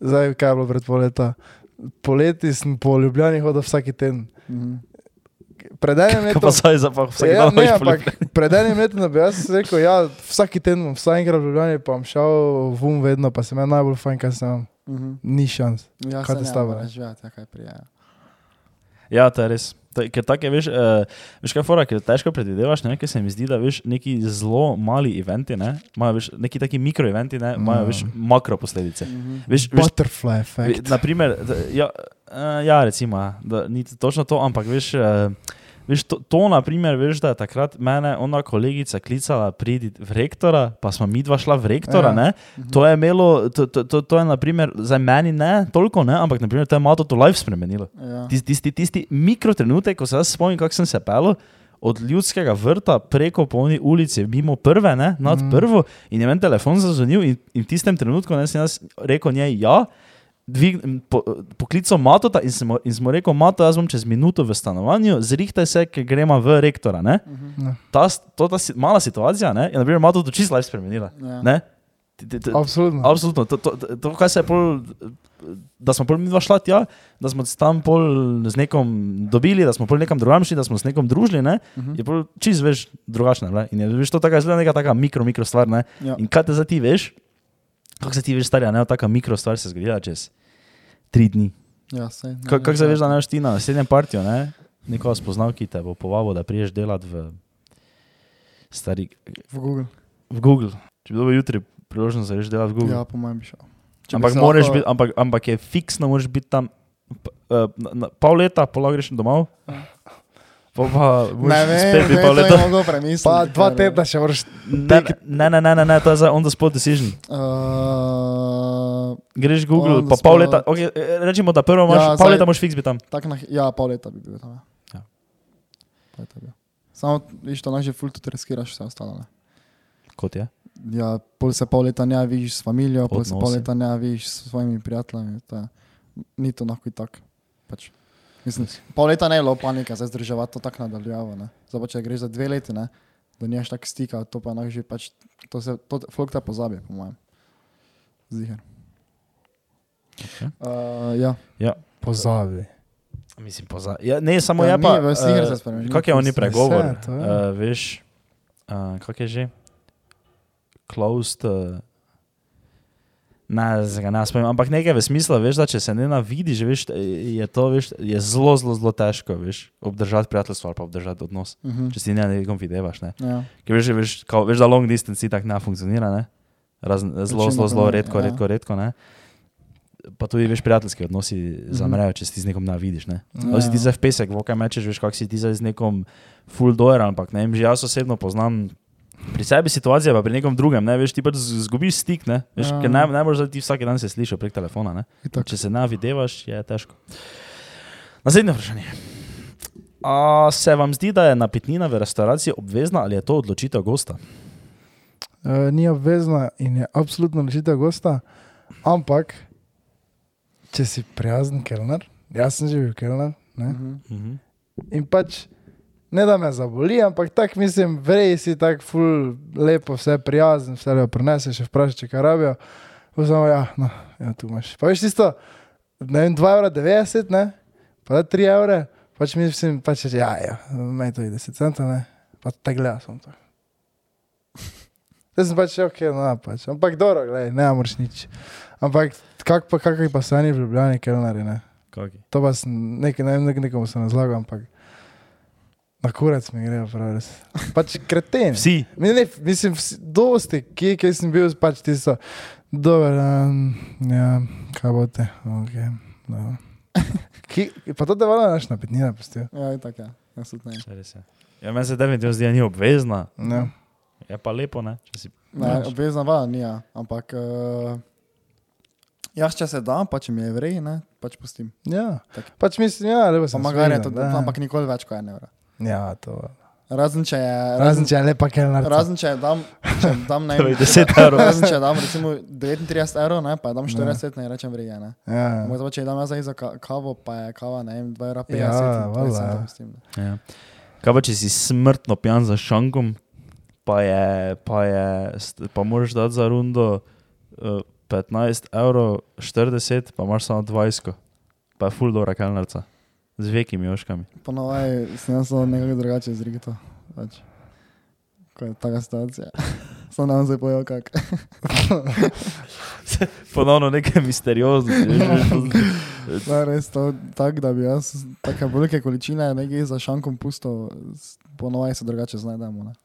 B: zdaj kaj je bilo pred pol leta. Poleti sem po Ljubljani hodil vsak teden.
C: Mhm.
B: Pred enim
A: Kaj pa
B: letom,
A: zdaj za pa vsak
B: ja,
A: dan
B: ne,
A: hojiš po
B: ampak pred enim letom da bi jaz rekel, ja, vsak teden bom vsaj enkrat v Ljubljani, pa bom šel vum vedno, pa sem jaz najbolj fajn, kar sem.
C: Mhm.
B: Ni šans.
C: Ja, saj
B: Kaj te
C: ne
B: stava,
C: moreš živeti, ja, kaj prijaja.
A: Ja, to je res. To, je- ker tako je, veš, uh, veš kaj fora, ker težko predvidevaš, ne, ker se mi zdi, da veš, neki zelo mali eventi, ne, imajo veš, neki taki mikroeventi, ne, imajo veš makro posledice.
C: Mhm.
A: Veš, veš,
B: Butterfly
A: ve-
B: effect.
A: naprimer, da- ja, eh, ja, recimo, ja, da, ni točno to, ampak veš, eh, veš to, to, naprimer, veš, da je takrat mene ona kolegica klicala pridi v rektora, pa smo mi dva šla v rektora,
B: Ja.
A: ne,
C: mhm.
A: to je imelo, to, to, to, to je, naprimer, za meni ne toliko, ne, ampak, naprimer, to je malo to life spremenilo.
C: Ja.
A: Tisti, tisti, tisti mikrotrenutek, ko se jaz spomnim, kako sem se pelil od ljudskega vrta preko polni ulice, mimo prve, ne, nad mm.
B: Mm.
A: prvo, in je meni telefon zazvonil, in, in v tistem trenutku ne, sem jaz rekel njej ja. Dvig, m, po, poklical Matota in sem, mu- in sem mu rekel, Mato, jaz bom čez minuto v stanovanju, zrihtaj se, ker gremo v rektora. Ne?
C: Mhm.
B: Ja.
A: Ta, s- to, ta si, mala situacija ne, je, na primer, Mato to čisto life spremenila.
C: Ja.
A: Ne? ti- ti- ti-
B: Absolutno.
A: Absolutno. To, to, to, to, kaj se je pol, da smo pol mi dva šla tja, da smo se tam pol z nekom dobili, da smo pol nekam drugam šli, da smo s nekom družili, ne?
C: mhm.
A: je pol čist veš drugačna. Ne? In je veš, to taka zelo neka taka mikro, mikro stvar. Ne?
C: Ja.
A: In kaj te zdaj ti veš, kako se ti veš starja, ne, taka mikro stvar se zgodi čez tri dni.
C: Ja, sej, ne,
A: Kako
C: ne,
A: kak se
C: ne.
A: veš, da ne boš ti na naslednjem partiju, ne? nekoga spoznal, ki te bo povabil, da priješ delati v stari,
C: V Google.
A: v Google. Če bi dobil jutri priložnost, da greš delati v Google.
C: Ja, po mojem bi šel. Če bi
A: Ampak,
C: se
A: moraš
C: lahko-
A: biti, ampak, ampak je fiksno, moraš biti tam p- eh, na, na, pol leta, pol leta greš domov. Pol pa
C: Ne
A: moraš
C: vem,
A: spet
C: ne,
A: biti pol
C: to je
A: leta.
C: mogo premisliti.
B: Pa dva
C: ker,
B: tedna še moraš.
A: Ne, ne, ne, ne, ne, ne, to je za on the spot decision.
C: Uh,
A: Greš Google,
C: On the
A: pa pol
C: spot.
A: leta, okay, eh, rečemo, da prvo imaš, ja,
C: Ja,
A: pol
C: zdaj-
A: leta moraš fiks biti tam.
C: tak na, hi- ja, pol leta bi bil tam.
A: Ja.
C: Ja. Pol leta bi bil. Samo, viš, to naše ful tudi riskiraš vse ostalo. Ne?
A: Kot je.
C: Ja, pol se pol leta ne vidiš s familijo, pol se pol
A: Odnosi.
C: leta ne vidiš s svojimi prijatelji. To je, ni to lahko tako. Pač. Mislim, pol leta ne je bilo panike, zdaj zdrževati to tako nadaljavo. ne. Zdaj pa če greš za dve leti, ne, da nimaš tako stika, to pa lahko že pač, to se, to flok te pozabi, po mojem. Zihar.
A: Okay.
C: Uh, ja,
B: Pozabi.
A: Mislim, poza. Ja, ne, samo
C: Ja,
A: je
C: ni,
A: pa.
C: v Singer se
A: eh,
C: spremeni,
A: Kak je
C: ni
A: oni
C: ful-
A: pregovor?
B: Vse, to je.
A: Uh, veš, uh, kak je že? Closed. Uh, Ne, zdaj ga ne spomnim, ampak nekaj v smislu, veš, da če se ne navidiš, veš, eh, je to veš, je zelo, zelo, zelo težko veš, obdržati prijateljstvo ali pa obdržati odnos,
C: uh -huh.
A: če si ne nekom videvaš. Ne.
C: ja.
A: Ker veš, veš, kao, veš, da long distance tako ne funkcionira, ne? Razn, zelo,
C: Večina
A: zelo, zelo
C: primerov,
A: redko,
C: ja.
A: redko, redko. Ne? Pa tudi veš, prijateljski odnosi zamrejo, če si ti z nekom navidiš. Ne?
C: Ja.
A: Ali si ti zdaj v pesek, vokaj mečeš, veš, kak si ti zdaj z nekom full doer, ampak ne vem, že jaz osebno poznam. Pri sebi situacija, pa pri nekom drugem, ne veš, ti pač z- zgubiš stik, ne veš,
C: Ja.
A: ja. ker ne, ne moreš, da ti vsak dan se slišiš prek telefona. Ne?
C: Itak.
A: Če se ne videvaš, je težko. Naslednje vprašanje. A se vam zdi, da je napitnina v restauraciji obvezna ali je to odločitev gosta?
B: Uh, ni obvezna in je absolutno rešitev gosta, ampak če si prijazen kelner, jaz sem že bil kelner, ne?
C: Mhm.
A: Mhm.
B: in pač ne da me zaboli, ampak tako mislim, vrej si tako ful, lepo, vse prijazen, vse lepo preneseš, še vprašaj, če kaj rabijo. Pa Samo, ja, no, ja, tu imaš. Pa veš tisto, ne vem, 2,90 evra, ne, pa da 3 evre, pač mislim, pač reče, ja, ja, meni to je 10 centov, ne, pa te gledam sem to. Zdaj sem pač ok, no, pač. ampak dobro, gledaj, ne moreš nič. Ampak kak pa, kak pa so oni v Ljubljani, ker ne.
A: Kaki?
B: To pa sem, nekaj, ne vem, nek- nekomu sem razlagal, ampak na kurac mi gre, prav res. Pač kreten.
A: Vsi.
B: Mi ne, mislim, vsi, dosti, kje, kje sem bil, pač tisto. Dober, um, ja, kaj bote, ok. No. Ki, pa to devala naš napitnina, pustijo.
C: ja, itak, ja. Jaz tudi ne.
A: Res je. Ja, meni se definitivno zdi, da ni obvezna.
B: Ja.
A: Je pa lepo, ne? Če si
C: Ne, obvezna vaja ni, ja. ampak uh, jaz če se da, pa če mi je vrej, ne, pač pustim.
B: ja.
C: Tako.
B: Pač mislim, ja, lepo
C: Pa
B: sem.
C: magari je to,
B: smezen,
C: da, ampak nikoli več kot en evra.
B: Ja, to.
C: Razen če je,
B: Razen če je lepa kelnar.
C: razen če je dam, če dam ne,
A: Torej, 10 evrov.
C: Razen če je dam recimo 39 evrov, ne, pa je dam 40, ne, rečem vrije, ne.
B: Ja,
C: Mogoče pa če je dam jaz zdaj za ka- kavo, pa je kava, ne, 2,50 evra.
B: Ja,
C: 50,
B: valjda, ja.
C: ja. Pustim, ne.
A: Ja. Kaj pa, če si smrtno pijan za šankom, pa, je, pa, je, st- pa moraš dati za rundo uh, 15 evrov, 40, pa imaš samo 20, pa je full dobro kalnerca. Z vekimi oškami.
C: Ponovaj sem jaz samo nekako drugače izrekel to. Pač. Ko je taka situacija. Sam nam zdaj pojel kak.
A: Ponovno nekaj misterioznosti. veš, veš, to-
C: Da, res to tako, da bi jaz take velike količine nekaj za šankom pusto, ponovaj se drugače znajdemo. Ne?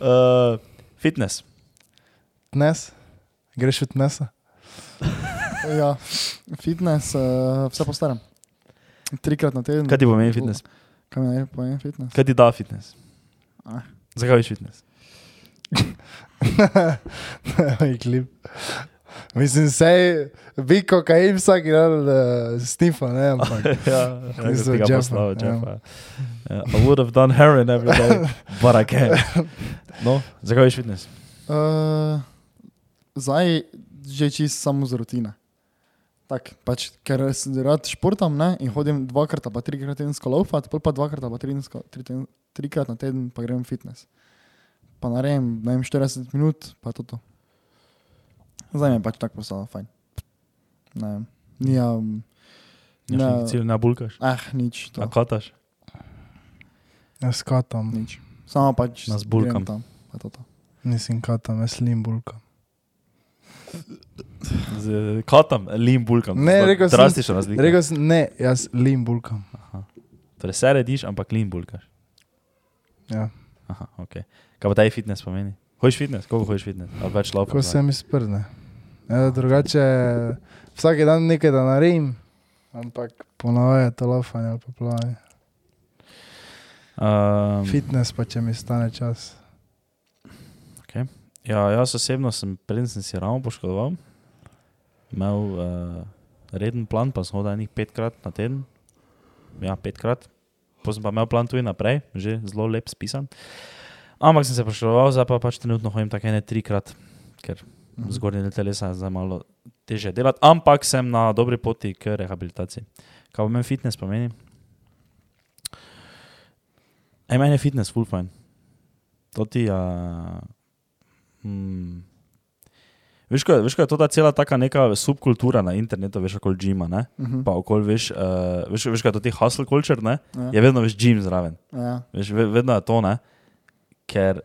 A: Uh, fitness.
B: Tnes, greš v tnesa.
C: Ja, fitness, uh, vse po starem. Trikrat na teden.
A: Kaj ti pomeni fitness?
C: Kaj mi naj pomeni fitness?
A: Kaj ti da fitness?
C: Ah.
A: Zakaj veš fitness?
B: Moj klip. Mislim, sej, vi kokain vsak dan uh, snifa, ne, ampak.
A: ja,
B: Mislim,
A: tega
B: Jeffa,
A: poslava,
B: ja.
A: Jeffa. Ja, I would have done heroin every day, but I can't. No, zakaj veš fitness?
C: Uh, zdaj že čist samo z rutine. Tak, pač, ker sem rad športam ne, in hodim dvakrat, ali pa trikrat tedensko laufat, pol pa dvakrat, ali pa tri, tri, trikrat na teden pa grem v fitness. Pa pa naredim, ne vem, 40 minut, pa je to to. Zdaj mi je pač tako postalo fajn. Ne vem, nijam,
A: Nimaš
C: Ne.
A: nekih ciljev, ne bulkaš,
C: eh, nič,
B: No.
C: to,
A: ne kataš.
B: Jaz katam,
C: nič. Samo pač
A: Nas bulkam.
C: grem tam, pa je to to.
B: nisem katam, jaz slim bulkam.
A: Z- Katam, lim bulkam.
B: Ne,
A: Zelo
B: rekel sem-
A: Drastična razlika.
B: Rekel sem, ne, jaz lim bulkam.
A: Torej se rediš, ampak lim bulkaš.
B: Ja.
A: Aha, ok. Kaj pa taj fitness pomeni? Hojiš fitness, koliko hojiš fitness? Ali več lava?
B: Ko se mi sprne. Ja, drugače, vsak dan nekaj da naredim, ampak ponavadi je to lafanje ali pa plavanje.
A: Um,
B: Fitness pa če mi stane čas.
A: ja, jaz osebno sem, preden sem si ravno poškodoval, imel uh, reden plan, pa sem hodil enih petkrat na teden. Ja, petkrat. Potem sem pa imel plan tudi naprej, že zelo lep spisan. Ampak sem se poškodoval, zdaj pa pač trenutno hodim tako ene trikrat, ker
C: Mhm.
A: zgornji del telesa je zdaj malo teže delati, ampak sem na dobri poti k rehabilitaciji. Kaj pa meni fitness pomeni? Ej, meni je fitness full fajn. To ti je. Uh, mm, veš, ko je, veš, ko je to ta cela taka neka subkultura na internetu, veš, okoli džima, ne?
C: Mhm.
A: Pa okoli, veš, uh, veš, veš, kaj je to ti hustle culture, ne?
C: Ja.
A: Je vedno veš džim zraven.
C: Ja.
A: Veš, ve- vedno je to, ne? Ker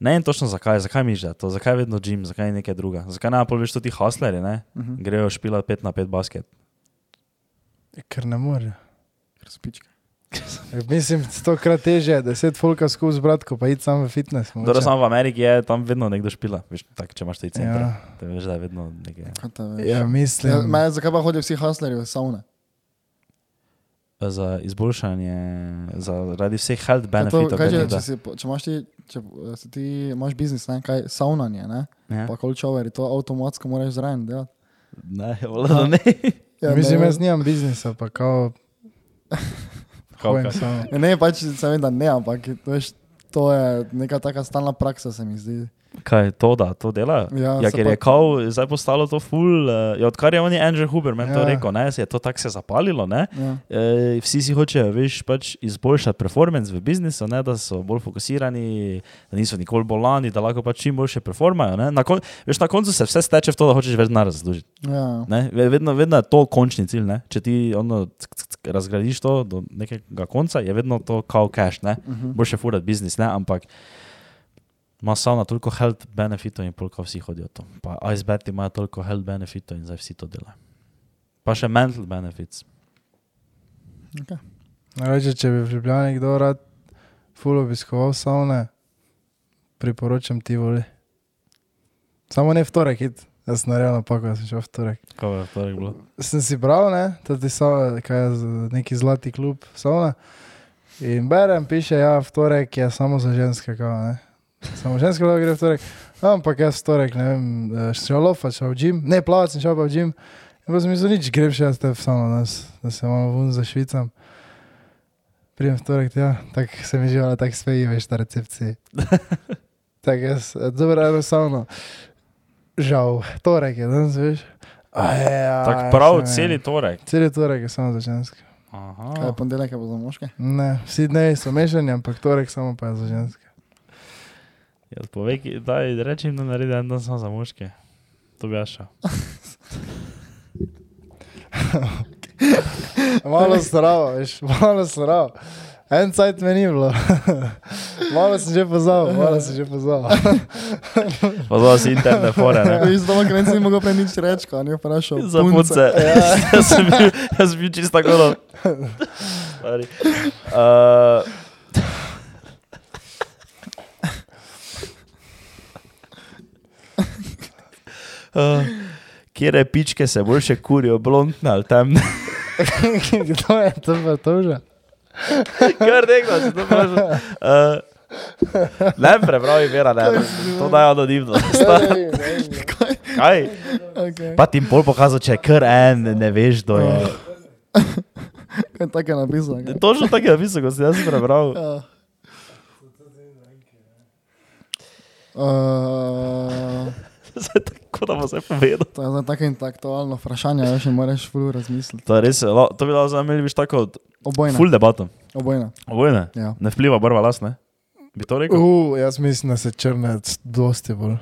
A: ne vem točno zakaj, zakaj mi že to, zakaj je vedno gim, zakaj je nekaj druga. Zakaj ne, pa veš tudi hustlerji, ne?
C: Mhm.
A: Grejo špila 5 na 5 basket.
B: E, Ker ne more. E,
C: Ker so pičke.
B: Mislim, stokrat teže, je, deset folka skupaj z bratko, pa id sam v fitness.
C: No,
B: mogoče.
A: Dobro, Torej, samo v Ameriki je tam vedno nekdo špila. Veš, tak, če imaš te centre,
B: ja.
A: ja. te veš, da je vedno nekaj.
C: Kaj te veš?
B: ja, mislim.
C: Ja, mene, zakaj pa hodijo vsi hustlerji v savne?
A: Za izboljšanje, zaradi vseh health
C: Kaj to-
A: benefitov.
C: kaj
A: ker
C: če-
A: nekdo-
C: Če, si po- če imaš ti, če eh, si ti imaš biznis, ne, kaj savnanje, ne?
A: Ja.
C: pa kolčoveri, to avtomatsko moraš zraven delati.
A: Ne, vola, ne.
B: ja, mislim,
C: ne,
B: jaz nimam biznisa, pa kao.
A: Kao kaj?
B: hojem samo.
C: Ja, Ne, pač se vem, da ne, ampak veš, to je neka taka stalna praksa, se mi zdi.
A: Kaj to da, to delajo? Ja,
C: se
A: ker je kao, zdaj postalo to ful, uh, ja, odkar je on je Andrew Huber meni ja. to
B: Ja.
A: rekel, ne, se je to tako se zapalilo, ne,
C: Ja,
A: E, vsi si hočejo, veš, pač izboljšati performance v biznisu, ne, da so bolj fokusirani, da niso nikoli bolani, da lahko pač čim boljše performajo. ne. Na, kon, veš, na koncu se vse steče v to, da hočeš več denarja zaslužiti.
C: ja.
A: ne. Ve- Vedno, vedno je to končni cilj. Ne? Če ti ono, ck, ck, ck, razgradiš to do nekega konca, je vedno to kao cash. Ne?
C: Mhm.
A: Boljše furati biznis, ne? ampak ima sauna toliko health benefitov in polka vsi hodijo to. Pa icebergi imajo toliko health benefitov in zdaj vsi to delajo. Pa še mental benefits.
B: Reče, če bi v Ljubljani kdo rad ful obiskoval savne, priporočam ti voli. Samo ne v torek, id. jaz sem naredil napako, jaz sem šel v torek.
A: Kaj je to bilo?
B: Sem si bral, ne, tudi savne, kaj je z- neki zlati klub savne. In berem, piše, ja, v torek je samo za ženske, kao, ne. Samo ženske lahko gre v torek. Ampak jaz v torek, ne vem, eh, šel lofa, šel v gim, ne, plavat sem šel pa v gim. In pa sem mislil, nič, grem še jaz te v savno, da, s- da se malo vun zašvicam. Prijem v torek, ja, tako se mi živala, tako speji, veš, na recepciji. tako jaz, eh, dobro, enostavno. Žal, torek je danes, veš. A ja,
A: Tako prav
B: saj ne.
A: celi torek.
B: Celi torek je samo za ženske.
C: Kaj
A: Aha.
C: je ponedeljek, je pa za moške?
B: Ne, vsi dnevi so mešani, ampak torek samo pa je za ženske.
A: Jaz povej, ki- daj, reči jim, da naredi en dan samo za moške. To bi jaša.
B: Malo stravo, veš, malo stravo. En cajt me ni bilo. malo sem že pozabil, malo sem že pozabil.
A: Pozval si interne fore, Ja, ne?
C: Jaz doma, ker nisem mogel prej nič reči, ko ne vprašal.
A: Za punce. Ja. jaz sem bil, jaz sem bil čisto tako. da- Stari. Uh, Uh, Kjere pičke se boljše kurijo, blondne ali temne?
B: Kdo je to pa toža?
A: Kar nekdo se to vpraša. Uh, ne, prebral je vera, ne, to dajo anonimno. Kaj?
C: Okay.
A: Pa ti jim bolj pokazal, če je kar en, ne veš, kdo je.
C: Kaj je tako napisano? kaj?
A: Točno tako je napisal, ko sem jaz prebral.
C: Ja. Uh,
A: Zdaj Tako da bo zdaj povedal.
C: to je zdaj tako intelektualno vprašanje, veš, in moraš ful razmisliti.
A: To, je res, la- to bi lahko zameli, viš tako,
C: Obojna.
A: full debato.
C: Obojna.
A: Obojne,
C: Ja.
A: ne vpliva barva las, ne? Bi to rekel?
B: Uh, jaz mislim, da se črne c- dosti bolj.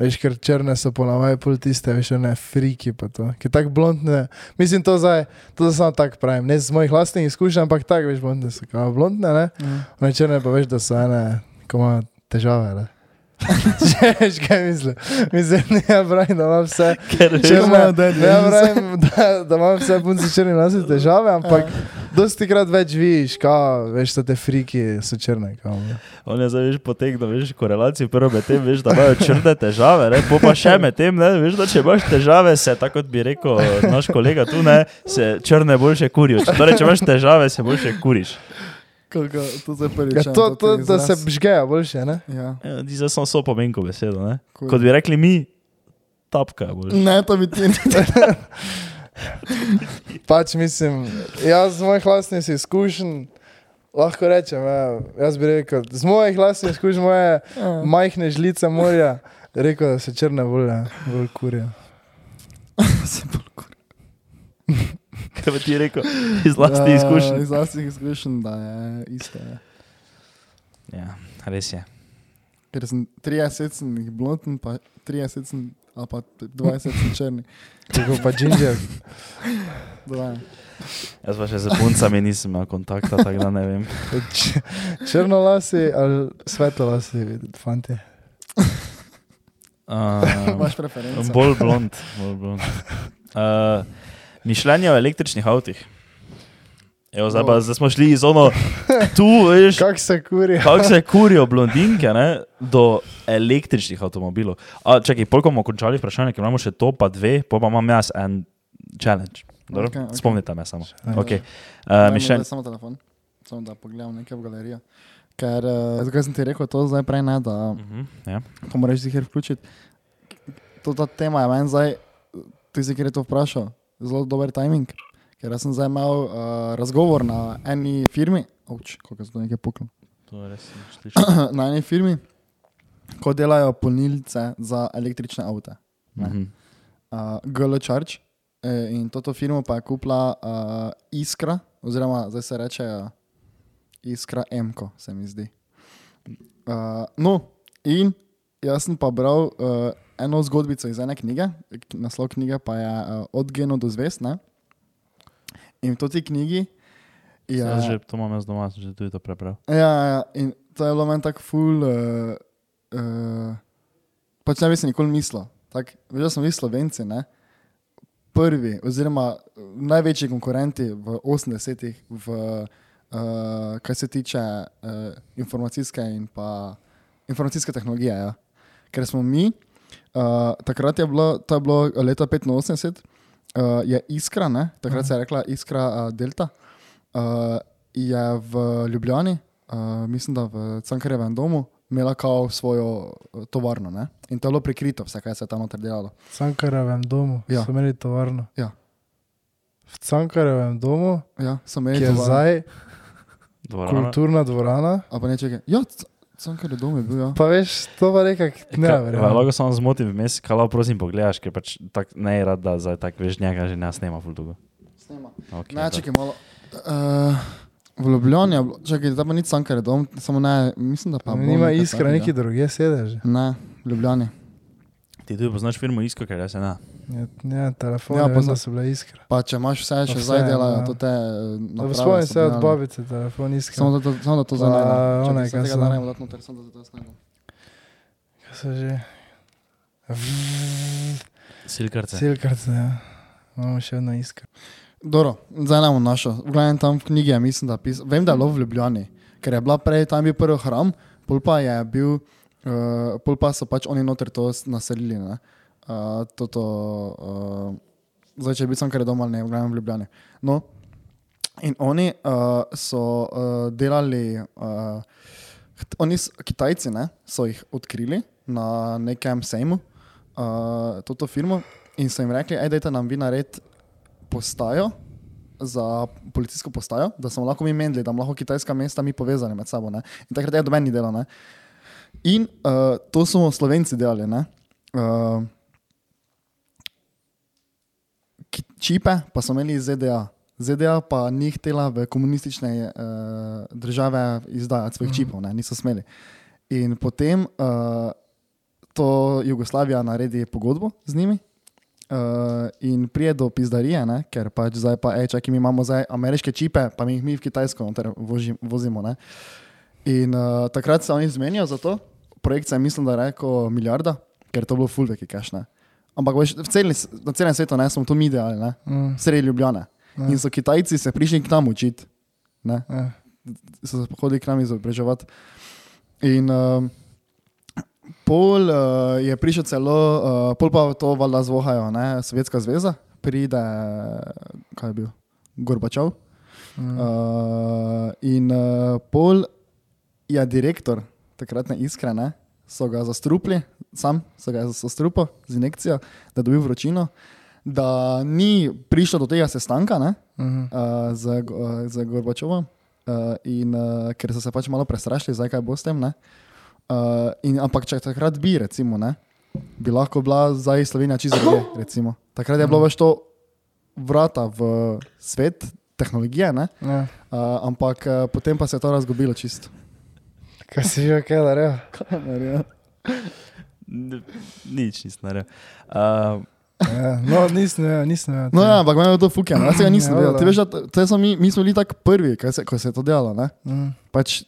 B: Veš, ker črne so ponavadi pol tiste, veš, ne friki pa to. Ker tako blondne, mislim to zdaj, to zdaj samo tako pravim, ne z mojih lastnih izkušenj, ampak tako veš, blondne so kao blondne, ne?
C: Mhm.
B: One črne pa veš, da so ene, ko ima težave, ne? Če veš, kaj mislim. Mislim, ne ja pravim, da imam vse.
A: Ker
C: Če
B: Črne,
C: imajo dead
B: ne ja
C: ends.
B: pravim, da, da imam vse punce črne nosne težave, ampak
C: Ja.
B: dosti krat več vidiš, kao, veš, da te friki so črne, kao. ne. Ja,
A: On je zdaj veš potegnil, veš korelacijo, prvo med tem veš, da imajo črne težave, ne? po pa še med tem, ne? veš, da če imaš težave, se tako kot bi rekel naš kolega tu, ne, se črne boljše kurijo. Če- Torej, če imaš težave, se boljše kuriš.
C: Koliko, to zdaj prvič.
B: Ja,
C: čujem,
B: to, to,
C: ti
B: da se
C: izraz.
B: žgejo, boljše. Ne?
C: Ja.
A: Ja, ti zdaj samo so pomenko besedo, ne?
C: Kul.
A: Kot bi rekli mi, tapka je boljše.
C: Ne, to bi ti ne.
B: Pač mislim, jaz z mojih vlastnih si izkušenj lahko rečem. Ja, jaz bi rekel, z mojih vlastnih izkušenj, moje
C: Eh,
B: majhne žlice morja, rekel, da se črne volje, bolj kurijo.
C: Se
A: Kaj bi ti rekel iz
B: Ja,
A: vlastnih izkušenj?
C: Ja, Iz vlastnih izkušenj, da je isto. je.
A: Ja, res je.
C: Ker sem 30 sem jih blonden, pa 30 sem, ali pa 20 sem črni.
B: Tako pa džinžer.
C: Dva.
A: Jaz pa še z puncami nisem imel kontakta, tako da ne vem.
B: Č- Črno lasi ali svetlo lasi, fanti.
A: Um,
C: Imaš preferenco.
A: bolj blond. Bolj blond. Uh, mišljenje o električnih avtih. Evo, zdaj, pa, zdaj smo šli iz ono, tu veš,
B: Kak se kurijo?
A: kako se kurijo blondinke ne, do električnih avtomobilov. A, čakaj, polko bomo končali vprašanje, ker imamo še to, pa dve, pa, pa imam jaz en challenge. Dobro?
C: Okej, okej.
A: Spomnite me samo. Okay.
B: eh,
C: Daj
A: Uh,
C: mi
A: mišljenje,
C: zdaj Samo telefon, samo da pogledam nekaj v galerijo. Ker, uh, zakaj sem ti rekel to zdaj prej, ne, da
A: uh -huh, ja.
C: ko moraš zihar vključiti. To ta tema je meni zdaj, ti si kjer je to vprašal, zelo dober timing. Ker jaz sem zdaj imel uh, razgovor na eni firmi, oč, koliko sem to nekaj puknil,
A: To res nisem slišal.
C: na eni firmi, ko delajo polnilnice za električne avte. Ne.
A: Mhm.
C: Uh, GL Charge eh, in to firmo pa je kupila uh, Iskra, oziroma zdaj se reče uh, Iskra Emko, se mi zdi. Uh, no, in jaz sem pa bral uh, eno zgodbico iz ene knjige, k- naslov knjige pa je uh, Od geno do zvest. Ne? In v tej knjigi je.
A: Jaz že to imam jaz doma, sem že tudi to prebral.
C: Ja, ja, ja, in to je bilo meni tako ful. Uh, uh, pač ne bi si nikoli mislil. Tak, veš, da smo mi slovenci, ne? prvi, oziroma eh, največji konkurenti v 80-ih, v, uh, kar se tiče uh, informacijske in pa informacijske tehnologije. Ja. Ker smo mi, uh, takrat je bilo, to je bilo leta 85, uh, je Iskra, ne? takrat se je rekla Iskra uh, Delta, uh, je v Ljubljani, uh, mislim, da v Cankarjevem domu, imela kao svojo eh, tovarno. Ne? In to je bilo prikrito, vse, kaj se je tam noter delalo.
B: V Cankarjevem domu
C: Ja.
B: ja. so imeli tovarno.
C: Ja.
B: V Cankarjevem domu,
C: Ja, sem
B: ki je
C: imel
B: zdaj
A: Dvorana.
B: kulturna dvorana.
C: A pa ne čekaj. Ja, Cankarjev dom je bil, ja.
B: Pa veš, to pa nekaj ne
A: E, Ka- va-
B: verjamem.
A: Lahko samo zmotim vmes, kaj lahko prosim pogledaš, ker pač tak, ne je rad, da zdaj tako veš njega že ne snema ful dolgo.
C: Snema.
A: Okay,
C: Ne, čekaj malo. Uh, v Ljubljani je bilo, čakaj, da pa ni Cankarjev dom, samo ne, mislim, da pa. bo
B: Nima
C: nekaj
B: iskra,
C: takega.
B: neki drugi sedež.
C: Ne, v Ljubljani.
A: Ti tudi poznaš firmo Isko, ker jaz se ne.
B: Ja, ja, telefon,
C: Ja,
B: ja,
C: pozna-
B: pozna so bile iskre.
C: Pa če imaš vse, še
B: Pa
C: zdaj
B: vse,
C: delajo
B: ja.
C: to te. eh, naprave
B: Spomnim
C: so
B: se od
C: delale.
B: babice, telefon iskre.
C: Samo da to, samo da to zdaj
B: Pa,
C: ne.
B: onaj, kaj
C: se
B: so-
C: da ne bo noter, samo da to zdaj ne.
B: Kaj so že?
A: Silkarce.
B: Silkarce, ja. Imamo še eno iskro.
C: Dobro, zdaj ne bom našel. V glavnem tam v knjigi je, mislim, da pis... vem, da je bilo v Ljubljani, ker je bila prej tam bil prvi hram, pol pa je bil, uh, pol pa so pač oni noter to s- naselili. ne. Uh, toto, uh, zdaj, če bi sam kar doma, ne, v glavnem v Ljubljani. No, in oni uh, so uh, delali, uh, ht- oni, s- Kitajci, ne, so jih odkrili na nekem sejmu, uh, to firmo, in so jim rekli, ajdajte nam vi narediti postajo, za policijsko postajo, da smo lahko mi menili, da smo lahko kitajska mesta mi povezali med sabo. Ne? In takrat je do meni delo. Ne? In uh, to smo Slovenci delali. ne. Eh, Uh, ki- čipe pa so imeli iz ZDA. ZDA pa ni htela v komunistične uh, države izdajati svojih čipov, ne? niso smeli. In potem uh, to Jugoslavija naredi pogodbo z njimi. Uh, in pride do pizdarije, ne? ker pač zdaj pa, ej, čakaj, mi imamo zdaj ameriške čipe, pa mi jih mi v Kitajsko noter voži- vozimo. Ne? In uh, takrat se oni zmenijo za to. Projekt se je, mislim, da je rekel milijarda, ker je to bilo fulveki kaš. Ne? Ampak veš, v celi, s- na celem svetu ne, smo to mi delali, ne?
B: Mm.
C: sredi Ljubljana.
B: Ja.
C: In so Kitajci se prišli k nam učiti, ne?
B: Ja.
C: so se hodili k nam izobraževati. In um, pol uh, je prišel celo, uh, pol pa to valjda zvohajo, ne? Sovjetska zveza, pride, kaj je bil, Gorbačov.
B: Mm.
C: Uh, in uh, pol je direktor takratne iskre, ne? so ga zastrupili, sam so ga zastrupili z injekcijo, da je dobil vročino. Da ni prišlo do tega sestanka ne,
B: Mhm.
C: uh, z, uh, z Gorbačovom, uh, in, uh, ker so se pač malo prestrašili, zakaj bo s tem. ne. Uh, in, ampak če takrat bi, recimo, ne, bi lahko bila zdaj Slovenija čisto druge. recimo. Takrat je bilo več to vrata v svet tehnologije, ne,
B: Ja.
C: Uh, ampak uh, potem pa se je to razgubilo čisto.
B: Kaj si že kaj naredil?
A: N- Nič nisem naredil. Uh,
B: Ja. No, nisem, ja, nisem. Ja,
C: No, ja, ampak meni je to fucking, jaz tega nisem
B: Ja,
C: delal.
B: da.
C: Ti veš, da t- to smo mi, mi smo bili tako prvi, ko se, ko se je to delalo. ne.
B: Mm.
C: Pač,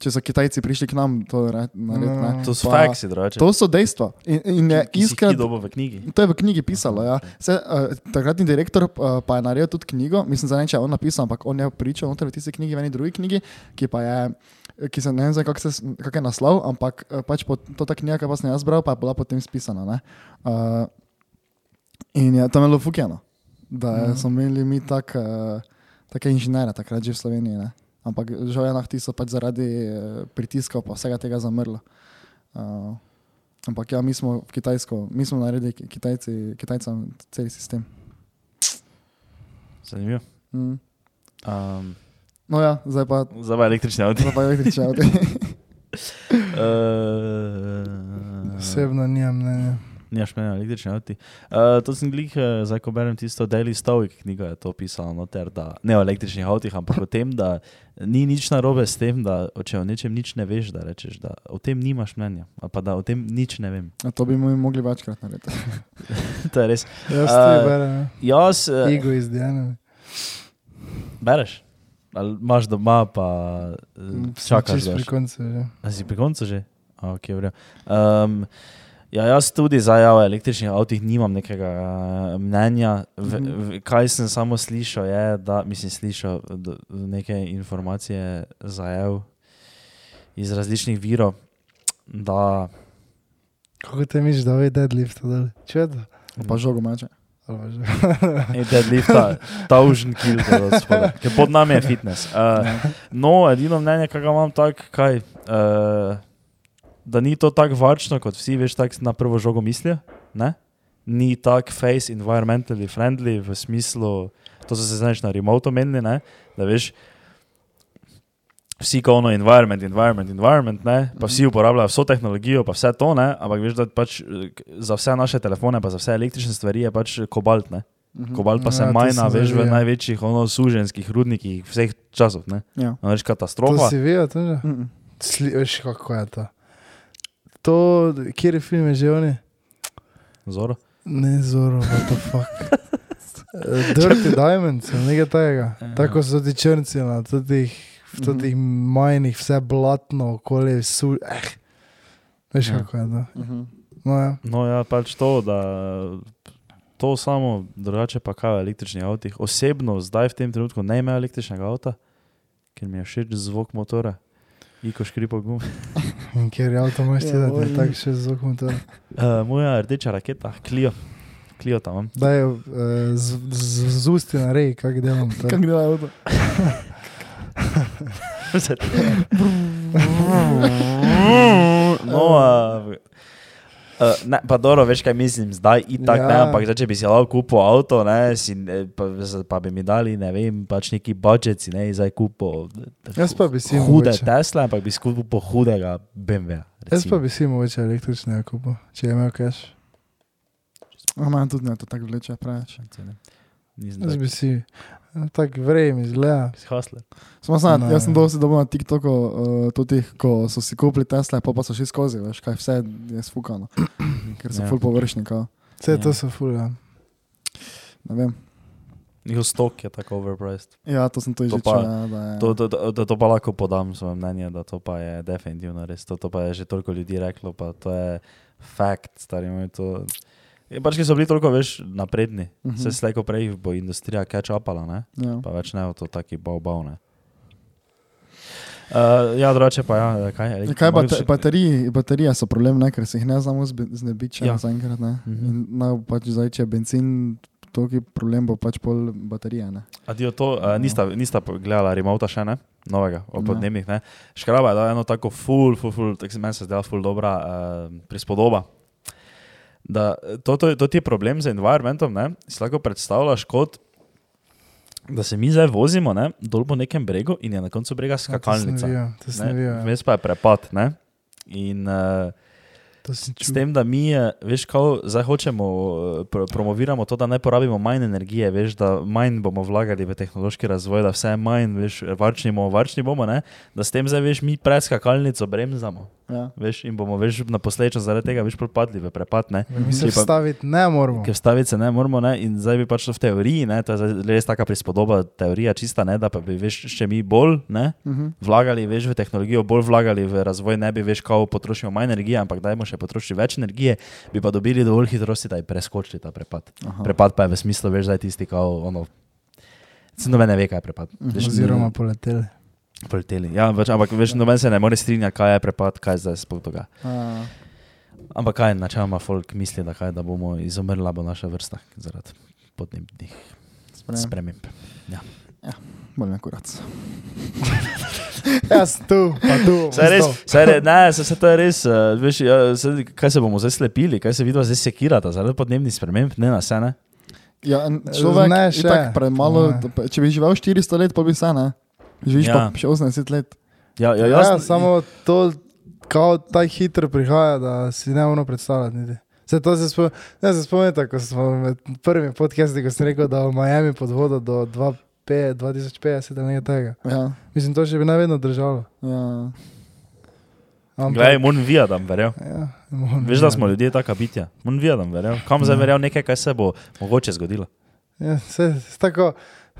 C: če so Kitajci prišli k nam, to re-
B: Mm.
C: narediti. ne.
A: to so
C: Pa-
A: faksi, drugače.
C: To so dejstva. In, in je
A: iskati.
C: iskrat,
A: Dobo v knjigi.
C: to je v knjigi pisalo. Ja. Se, uh, takratni direktor uh, pa je naredil tudi knjigo, mislim, da ne vem, če je on napisal, ampak on je pričal noter v tisti knjigi, v eni drugi knjigi, ki pa je. Ki se ne vem, zdaj, kako se s- kako je naslov, ampak eh, pač po, to ta knjiga, ki pa sem jo jaz bral, pa je bila potem spisana. ne. Uh, in je tam bilo fukjeno, da mm. smo imeli mi tak, uh, take inženirje, takrat že v Sloveniji. Ne? Ampak žal je nah ti so pač zaradi uh, pritiskov pa vsega tega zamrlo. Uh, Ampak ja, mi smo v Kitajsko, mi smo naredili ki- Kitajci, Kitajcem cel sistem.
A: Zanimivo.
C: Mm.
A: Um,
C: No ja, zdaj pa,
A: Zdaj pa električni avto.
C: zdaj pa električni avto.
A: Uh,
B: Osebno nimam mnenja.
A: Nimaš meni električni avto. Uh, to sem glik, eh, zdaj ko berem tisto Daily Stoic knjigo, je to pisalo noter, da ne o električnih avtih, ampak o tem, da ni nič narobe s tem, da če o nečem nič ne veš, da rečeš, da o tem nimaš mnenja, ali pa da o tem nič ne vem.
C: A To bi mi mogli večkrat narediti.
A: to je res.
B: Jaz
A: Eh,
B: ti berem. ja.
A: Jaz, uh,
B: Igo iz Diana.
A: bereš, ali imaš doma, pa uh, čakaš.
B: Čisto
A: veš.
B: pri koncu že.
A: A si pri koncu že? A, Okay, v redu. um, ja, jaz tudi zdaj ja, o električnih avtomobilih nimam nekega eh, mnenja. V,
C: Mhm.
A: v, kaj sem samo slišal, je, da mislim, slišal d- neke informacije zajel iz različnih virov. Da,
B: Kako te misliš, da ve deadlift dol? Čedo?
C: Pa žogo mače.
B: Ali pa že?
A: Ej, deadlift, ta thousand kg, da spada. Ker pod nami je fitness. Uh, no, edino mnenje, ki ga imam, tak, kaj, uh, da ni to tako varčno, kot vsi veš, tako na prvo žogo mislijo. Ne? Ni tako face environmentally friendly v smislu, to so se znaš na remote omenili, ne? da veš. Vsi, ko ono environment, environment, environment, ne, pa vsi uporabljajo vso tehnologijo, pa vse to, ne, ampak veš, da pač eh, k- za vse naše telefone, pa za vse električne stvari je pač kobalt, ne. Kobalt pa se
B: Ja,
A: ja,
B: to
A: majna,
B: sem
A: veš, v
B: zdaj videl.
A: največjih ono, suženskih rudnikih vseh časov. Ne?
C: Ja.
A: No, veš,
B: To
A: katastrofa.
B: si videl, to že?
C: Mm, mm.
B: Sli, veš, kako je to? To, kjer je film je že oni?
A: Zoro.
B: Ne, zoro, what the fuck. Eh, Dirty Diamonds, ali nekaj takega.
A: Ja.
B: Tako so ti črnci na totih,
C: Mhm.
B: v totih
A: Mhm.
B: majnih, vse blatno, okolje, su... Eh. Veš,
A: Ja.
B: kako je to?
C: Mhm.
B: No, ja.
A: No, ja, pač to, da to samo drugače pa kaj v električnih avtih. Osebno zdaj v tem trenutku ne imam električnega avta, ker mi je všeč zvok motora. Iko Eh, škripo gum.
B: In kjer je avto, imaš ti
C: Ja,
B: da
C: oj.
B: ti tako še zvok motor.
A: Uh, moja rdeča raketa, klijo. Klijo tam. imam.
B: Daj, eh, z, z, z usti na reji, kako delam. to.
C: Kako gre avto?
A: Vse te- No, uh, Uh, ne, pa dobro, veš, kaj mislim, zdaj itak ja. ne,
B: Ja.
A: ampak zdaj, če bi si lahko kupil avto, ne, si, ne, pa, z- pa bi mi dali, ne vem, pač neki budžet, si ne, zdaj kupil eh,
B: Jaz pa bi si
A: hude
B: mogoče-
A: Tesla, ampak bi si kupil hudega BMW.
B: Jaz pa
A: recimo.
B: bi si mogoče električnega kupa, če je imel cash.
C: Ampak tudi ne, to tako vleče preveč.
A: Nisem
B: Jaz
A: tak.
B: bi si no, tako vrejem izgleda.
A: Si hustler.
C: Smo sam,
B: Ne.
C: jaz sem dosti dobil na TikToku, uh, tudi ko so si kupili Tesla, pa, pa so šli skozi, veš, kaj vse je sfukano, ker
A: Ja.
C: so yeah. full površni, kao.
B: Vse
A: Ja.
B: to so fulja.
C: ne vem.
A: Njihov stok je tako overpriced.
C: Ja, to sem tudi
A: To
C: že
A: pa-
C: čutil. ja, da je-
A: To, to, to, to, to pa lahko podam svoje mnenje, da to pa je definitivno res. To, to pa je že toliko ljudi reklo, pa to je fakt, stari moj. To... Je Pač, ki so bili toliko več napredni, uh
C: Mhm.
A: -huh. se slejko prej bo industrija catch-upala, ne?
C: Ja.
A: pa več ne bo to taki bavbavne. Uh, ja, drugače pa ja, kaj je.
C: Ja, Kaj bate, baterije, baterije so problem, ne, ker se jih ne znamo zbe- znebiti ja.
A: Ja.
C: zaenkrat. ne.
A: Mhm.
C: In naj bo pač zdaj, če je benzin, toki problem bo pač pol baterije. Ne.
A: Adijo, to
B: No.
A: uh, nista, nista po- gledala remota še ne, novega, o
C: Ne.
A: podnebnih. Ne. Škraba je dala eno tako ful, ful, ful, tako se meni se zdela ful dobra uh, prispodoba. Da, eh, to, to, to ti je problem z environmentom, ne? si lahko predstavljaš kot, da se mi zdaj vozimo ne, dol po nekem bregu in je na koncu brega
B: Ja, to sem
A: skakalnica.
B: videl, To sem videl. ja.
A: Vmes pa je prepad. Ne? In uh,
B: To sem
A: S
B: čutil.
A: tem, da mi, eh, veš, kao, zdaj hočemo, eh, pro- promoviramo to, da ne porabimo manj energije, veš, da manj bomo vlagali v tehnološki razvoj, da vse je manj, veš, varčni bomo, varčni bomo, ne? da s tem zdaj, veš, mi preskakalnico bremzamo,
C: Ja.
A: veš, in bomo, veš, na posledično zaradi tega, veš, propadli v prepad, ne.
B: Mi se
A: Če pa-
B: vstaviti ne moramo.
A: Ker staviti se ne moramo, ne? in zdaj bi pač to v teoriji, ne? to je zdaj res taka prispodoba, teorija čista, ne? da pa bi, veš, še mi bolj, ne,
C: Mhm.
A: vlagali več v tehnologijo, bolj vlagali v razvoj, ne bi več kao potrošili manj energije, ampak dajmo še potrošiti več energije, bi pa dobili dovolj hitrosti, da bi preskočili ta prepad.
C: Aha.
A: Prepad pa je v smislu, veš, zdaj tisti, kao ono. Se noben ne ve, kaj je prepad. Veš,
B: Mhm. Oziroma poleteli.
A: poleteli. Ja, več, ampak veš, noben se ne more strinjati, kaj je prepad, kaj zdaj sploh dogaja.
C: A,
A: Ampak kaj načeloma folk misli, da, kaj, da bomo izumrla bo naša vrsta zaradi podnebnih
C: spremem.
A: sprememb.
C: Bolj me kurac.
B: Jaz Ja, tu, pa tu.
A: Saj res, saj re, ne, saj, saj to je res. Uh, veš, ja, saj, kaj se bomo zdaj slepili, kaj se vidimo zdaj sekirata zaradi podnebnih sprememb, ne na sene.
C: Ja, en človek
B: Ne,
C: je
B: še,
C: tako premalo.
B: po ja. moje.
C: da- Če bi živel 400 let, pa bi se ne. Živiš
A: Ja.
C: ja. pa še 80 let.
A: Ja, ja,
B: Ja,
A: jaz,
B: ja, samo to, kako tako hitro prihaja, da si ne moremo predstavljati. Niti. Se to se spomni, ne se spomnite, ko smo med prvimi podcasti, ko sem rekel, da v Miami pod vodo do 25 2050 ali nekaj tega.
C: Ja.
B: Mislim, to še bi najvedno držalo.
C: Ja.
A: Glej, mon vijadam, verjel.
B: ja, moram
A: Veš, da
B: reči.
A: smo ljudje taka bitja. Mon vijadam, verjel. Kam zdaj
B: Ja.
A: verjel nekaj, kaj se bo mogoče zgodilo.
B: Ja, se, s tako,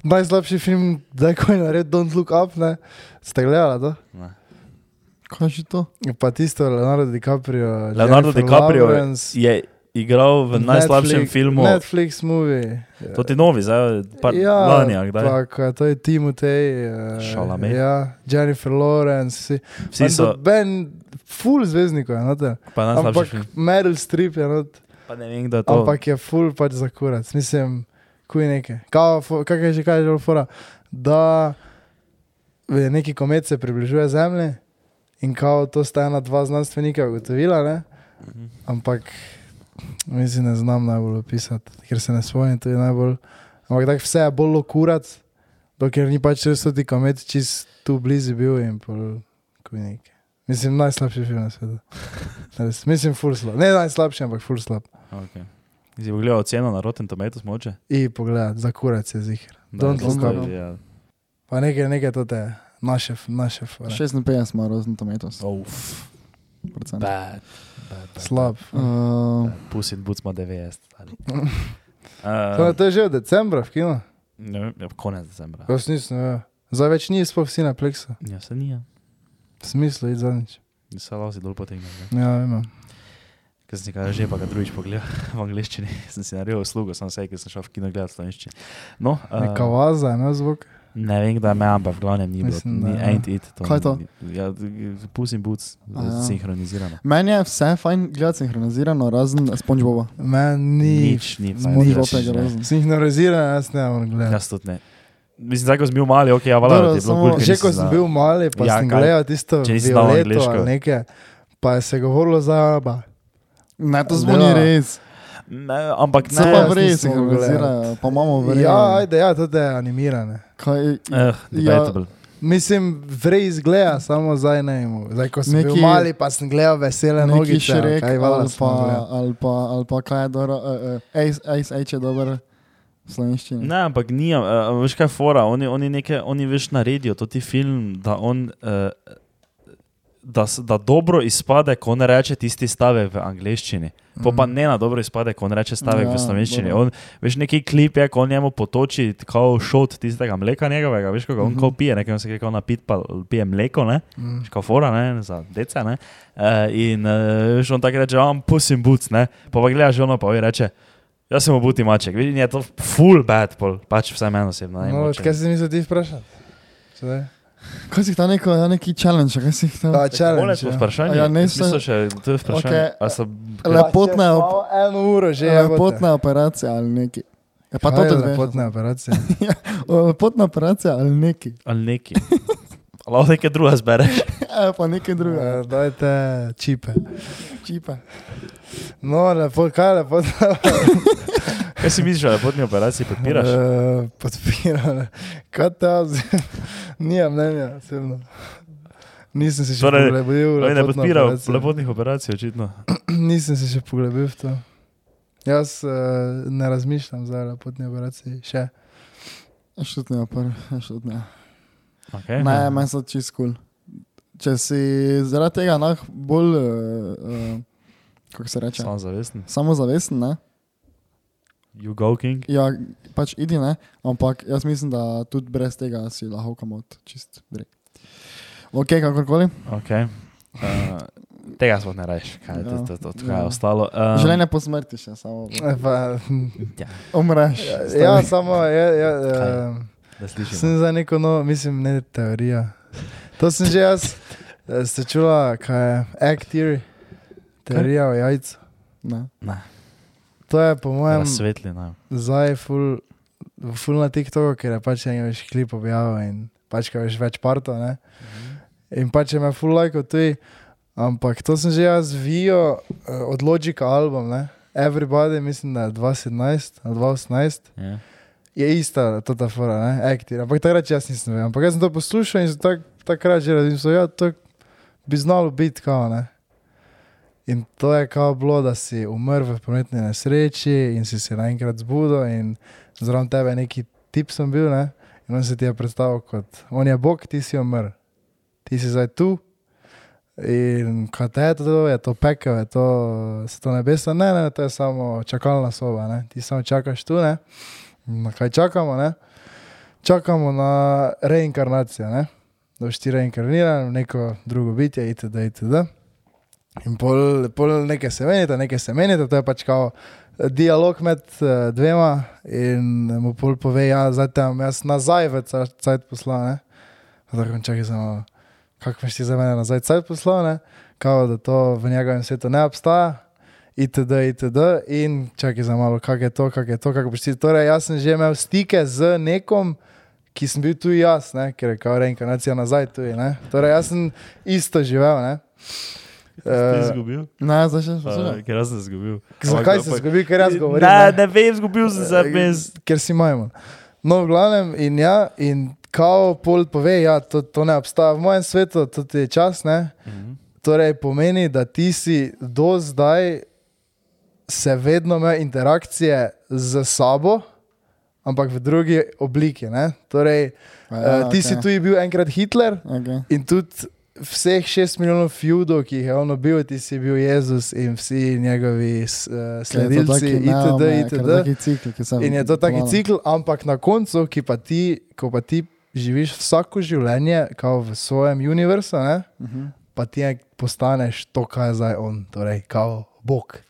B: najslabši film, da je koj naredil Don't Look Up, ne? ste gledali to?
A: Ne.
C: Kaj je že to?
B: Pa tisto Leonardo DiCaprio.
A: Leonardo
B: Jennifer
A: DiCaprio
B: Lawrence,
A: Je igral v najslabšem
B: Netflix-
A: filmu,
B: Netflix Ja, movie.
A: to ti novi, zdaj pa lani, a kdaj.
B: Pa, ko je to je Timotej,
A: Chalamet.
B: ja, Jennifer Lawrence, vsi,
A: Vsi so,
B: Ben, full zvezdnikov je, noter.
A: pa najslabši
B: Ampak
A: film.
B: Meryl Streep je, no, not,
A: Pa ne vem, kdo je to.
B: ampak je full pač za kurac, mislim, kuj neke. Kao, fo- Kaj je že kaj je že bilo fora? Da je neki komet se približuje Zemlji in kao to sta ena, dva znanstvenika ugotovila, ne?
A: Mhm.
B: ampak mislim, ne znam najbolj opisati, ker se ne spomnim, to je najbolj. Ampak tako vse je bolj lokurat, dokler ni pač res tudi komet čist tu blizu bil in pol kujnike. Mislim, najslabši film na svetu. Res, mislim, full slab. Ne najslabši, ampak full slab.
A: Okay. Si pogledal oceno na Rotten Tomatoes, moče?
B: I pogledaj, za kurac je zihar. Don't
C: look up.
A: Ja.
B: Pa nekaj, nekaj to te, naše, naše,
C: 56 ima rozen tomatoes.
A: Uf.
B: Ja.
C: procent.
A: Bad, bad, bad.
B: slab.
C: Uh,
A: Puss in Boots ima 90. ali.
B: To,
A: Eh,
B: to je že od decembra v kinu,
A: Ne vem, ja, konec decembra.
B: jaz nisem vedel. Zdaj več ni sploh vsi na pleksu,
A: Ja, se ni. ja.
B: smisel je zadnjič.
A: Se lahko dol potegnem. ne.
B: Ja, vem.
A: Ker sem nekaj že, pa ga drugič pogledal v angleščini, sem si naredil uslugo, sem se, ker sem šel v kino gledati slovenščini. No, eh,
B: Neka vaza, ne zvok.
A: ne vem, kdaj me, ampak v glavnem ni bilo.
B: Mislim, da
A: Ni,
B: ja.
A: ain't it.
C: Kaj je to?
A: ni- Ja, Puss in Boots,
C: Aja.
A: sinhronizirano.
C: meni je vse fajn gledati sinhronizirano, razen SpongeBoba.
B: Meni
A: Nič, ni fajn,
B: zmo-
C: Spongebob
A: nič,
C: je
A: ne.
C: grozen.
B: sinhronizirano, jaz ne morem gledati.
A: Jaz tudi ne. Mislim, tako sem bil mali, ok, ja, valjda, da
C: Dobro,
A: Ja, ti je bilo
C: samo-
A: bolj. ker
B: Že
A: nisi
B: ko sem
A: znal.
B: bil mali, pa
A: Ja,
B: ja, sem
A: kaj?
B: gledal tisto
A: Če nisi znal
B: violeto
A: angleško.
B: ali nekaj, pa je se govorilo za araba.
C: Ne, to zvoni
B: Ja.
C: ja. res.
A: Ne, ampak
C: Se
A: ne.
C: pa
B: jaz
C: res
B: nisem mogel
C: sinhronizirajo, pa imamo vrej.
B: Ja, ajde, ja, tudi je animirane.
C: Kaj, ja,
A: Eh, debatable.
B: Mislim, vrej izgleda, samo zdaj ne imamo. Zdaj, ko sem Neki,
C: Neki-
B: bil mali, pa sem gledal vesele
C: Neki
B: nogice.
C: šrek, ali
B: Kaj vala
C: pa,
B: smo gledali.
C: eh, ali, pa, ali pa kaj je dobro, uh, uh, Ace, Ace, Ace je dober, v slovenščini.
A: Ne, ampak ni, uh, veš kaj je fora, oni, oni nekaj, oni veš naredijo, to ti film, da on. Uh, Da, s- da dobro izpade, ko on reče tisti stavek v angleščini. Po pa ne na dobro izpade, ko on reče stavek ja,
C: Mhm. Ja,
A: v slovenščini.
C: dobro.
A: On, veš, neki klip je, ko on njemu potoči kao šot tistega mleka njegovega, veš, ko ga on
C: Mhm.
A: kao pije, nekaj on se gre kao napit, pa pije mleko, ne?
B: Mm.
A: Veš, kao fora, ne, za dece, ne. E, in e, veš, on tako reče, imam pusim buc, ne. Pa pa gledaš ono, pa vi reče, "Ja jaz sem obuti maček. Vidiš, in je to full bad, pol, pač vse meni osebno. Ne,
B: No,
A: mogoče.
B: kaj si mislil ti vprašati? Sedaj?
C: Kaj si ta neko, ja, neki challenge, kaj si ta?
B: Da,
A: Tole
B: challenge.
A: smo
B: ja.
A: vprašanje.
C: A ja,
A: Ja,
C: ne,
A: ne,
C: se-
A: sem še, to je vprašanje.
C: Okej.
A: Okay. A so,
C: Le- Lepotna
B: Pa čez
C: op-
B: Ja, malo Eno uro že je.
C: Lepotna operacija ali neki. Ja, pa to
B: je
C: tudi veš.
B: lepotna operacija.
C: Lepotna operacija ali neki.
A: ali neki. Lahko nekaj druga zbereš.
C: Ja, pa nekaj drugega.
B: Eh, Dajte čipe.
C: Čipa.
B: No, lepo, kaj lepo.
A: Kaj si misliš, da potni operaciji podpiraš?
B: Uh, podpiram. Kaj ta, nijem mnenja, osebno. Nisem se še
A: Torej,
B: poglebil.
A: Ne,
B: v
A: ne
B: lepotno
A: podpira
B: operacijo.
A: lepotnih operacij, očitno.
B: Nisem se še poglebil v to. Jaz uh, ne razmišljam za lepotne operacije, še.
C: Šutne opere, šutne.
A: Okay.
C: Ne, ja, meni so čist kul. Cool. Če si zaradi tega nah, bolj, uh, uh, kako se reče,
A: Sam zavesten.
C: samozavesten, ne?
A: You go, King.
C: ja, pač idi, ne? ampak jaz mislim, da tudi brez tega si lahko kamot čist direkt. Ok, kakorkoli.
A: Okay. Uh, tega smo ne rajš, kaj je to,
C: Ja.
A: to, to, to kaj je
C: Ja.
A: ostalo.
C: Um,
A: Um,
C: Življenje po smrti še, samo
B: Eh, Pa,
C: umreš.
B: ja, samo ja, ja,
A: Kaj?
B: eh,
A: da slišim.
B: Sem za neko novo, mislim, ne teorija. To sem že jaz, eh, ste čula, kaj je act theory, teorija o jajcu.
C: Ne.
B: To je po mojem
A: Svetli nam.
B: zdaj ful, ful na TikToku, ker je pač en več klip objavil in pač kaj veš več partov, ne. In pač je me ful lajko tudi, ampak to sem že jaz vijo eh, od Logika album, ne. Everybody, mislim, da je 2017 ali 2018.
A: Ja.
B: je ista ta ta fora, ne, aktir. Ampak takrat jaz nisem vedel. Ampak jaz sem to poslušal in sem tak, takrat že razmišljal, ja, to bi znalo biti kao, ne. In to je kao bilo, da si umrl v prometni nesreči in si se naenkrat zbudil in zraven tebe neki tip sem bil, ne. In on se ti je predstavil kot, on je Bog, ti si umrl, ti si zdaj tu. In kaj te je to, je to pekel, je to, se to nebesno, ne, ne, to je samo čakalna soba, ne. ti samo čakaš tu, ne. Na kaj čakamo? Ne? Čakamo na reinkarnacijo, ne? da boš ti reinkarniran v neko drugo bitje, itd. itd. In pol, pol nekaj se menite, nekaj se menite, to je pač kao dialog med eh, dvema in mu pol pove, ja, zdaj tam jaz nazaj v cajt poslal, ne. Pa Tako čakaj samo, kako veš ti za mene nazaj cajt poslal, ne, kao da to v njegovem svetu ne obstaja itd., itd. In čakaj za malo, kako je to, kako je to, kako boš ti. Torej, jaz sem že imel stike z nekom, ki sem bil tu jaz, ne? ker je kao reinkarnacija nazaj tu. Torej, jaz sem isto živel. Ne?
A: Ti
B: Eh,
A: izgubil?
C: ne, zdaj še poslušaj.
A: Uh, ker jaz sem izgubil.
B: zakaj si zgubil, ker jaz govorim?
A: Ne,
B: ne?
A: ne vem, izgubil sem se brez.
B: Eh, ker si majmo. No, v glavnem, in ja, in kao pol pove, ja, to, to ne obstaja v mojem svetu, to ti je čas, ne. Torej, pomeni, da ti si do zdaj se vedno imel interakcije z sabo, ampak v drugi obliki. ne. Torej, ja, ti okay. si tudi bil enkrat Hitler
C: Okay.
B: in tudi vseh šest milijonov feudov, ki jih je on bil, ti si bil Jezus in vsi njegovi uh, sledilci, itd. itd.
C: Taki cikl, ki sem.
B: In je to taki cikl, ampak na koncu, ki pa ti, ko pa ti živiš vsako življenje, kot v svojem univerzu, ne,
C: Uh -huh.
B: pa ti je- postaneš to, kar je zdaj on, torej kao Bog.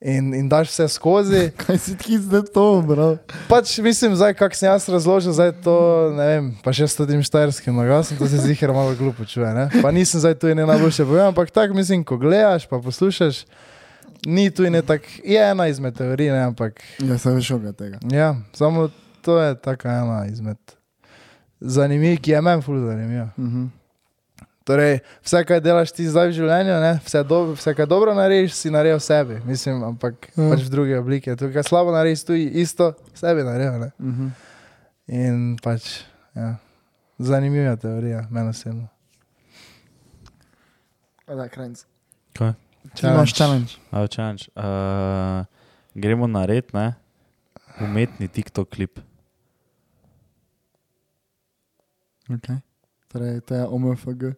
B: In, in daš vse skozi.
C: Kaj si ti zdaj to, bro?
B: Pač mislim, zdaj, kako sem jaz razložil, zdaj to ne vem, pa še s tem štajerskim naglasom, to se zihar malo glupo čuje. Ne? Pa nisem zdaj tu in ne najboljše povedal, ampak tako mislim, ko gledaš, pa poslušaš, ni tu in ne tako, je ena izmed teorij, ne, ampak
C: Ja, sem že šel od tega.
B: Ja, samo to je tako ena izmed zanimivih, ki je meni ful zanimiva.
C: Uh -huh.
B: Torej, vse, kar delaš ti zdaj v življenju, ne, vse, do, vse, kar dobro narediš, si naredil sebi, mislim, ampak
C: Ja.
B: mm. pač v druge oblike. To, kar slabo narediš, tu isto sebi naredil. Ne.
C: Uh -huh.
B: In pač, ja, zanimiva teorija, meni osebno.
C: Da, kranc.
A: Kaj?
C: Ti imaš challenge.
A: Ajčanč. Uh, gremo na red, ne? umetni TikTok klip.
C: Okay. Torej, to je OMFG,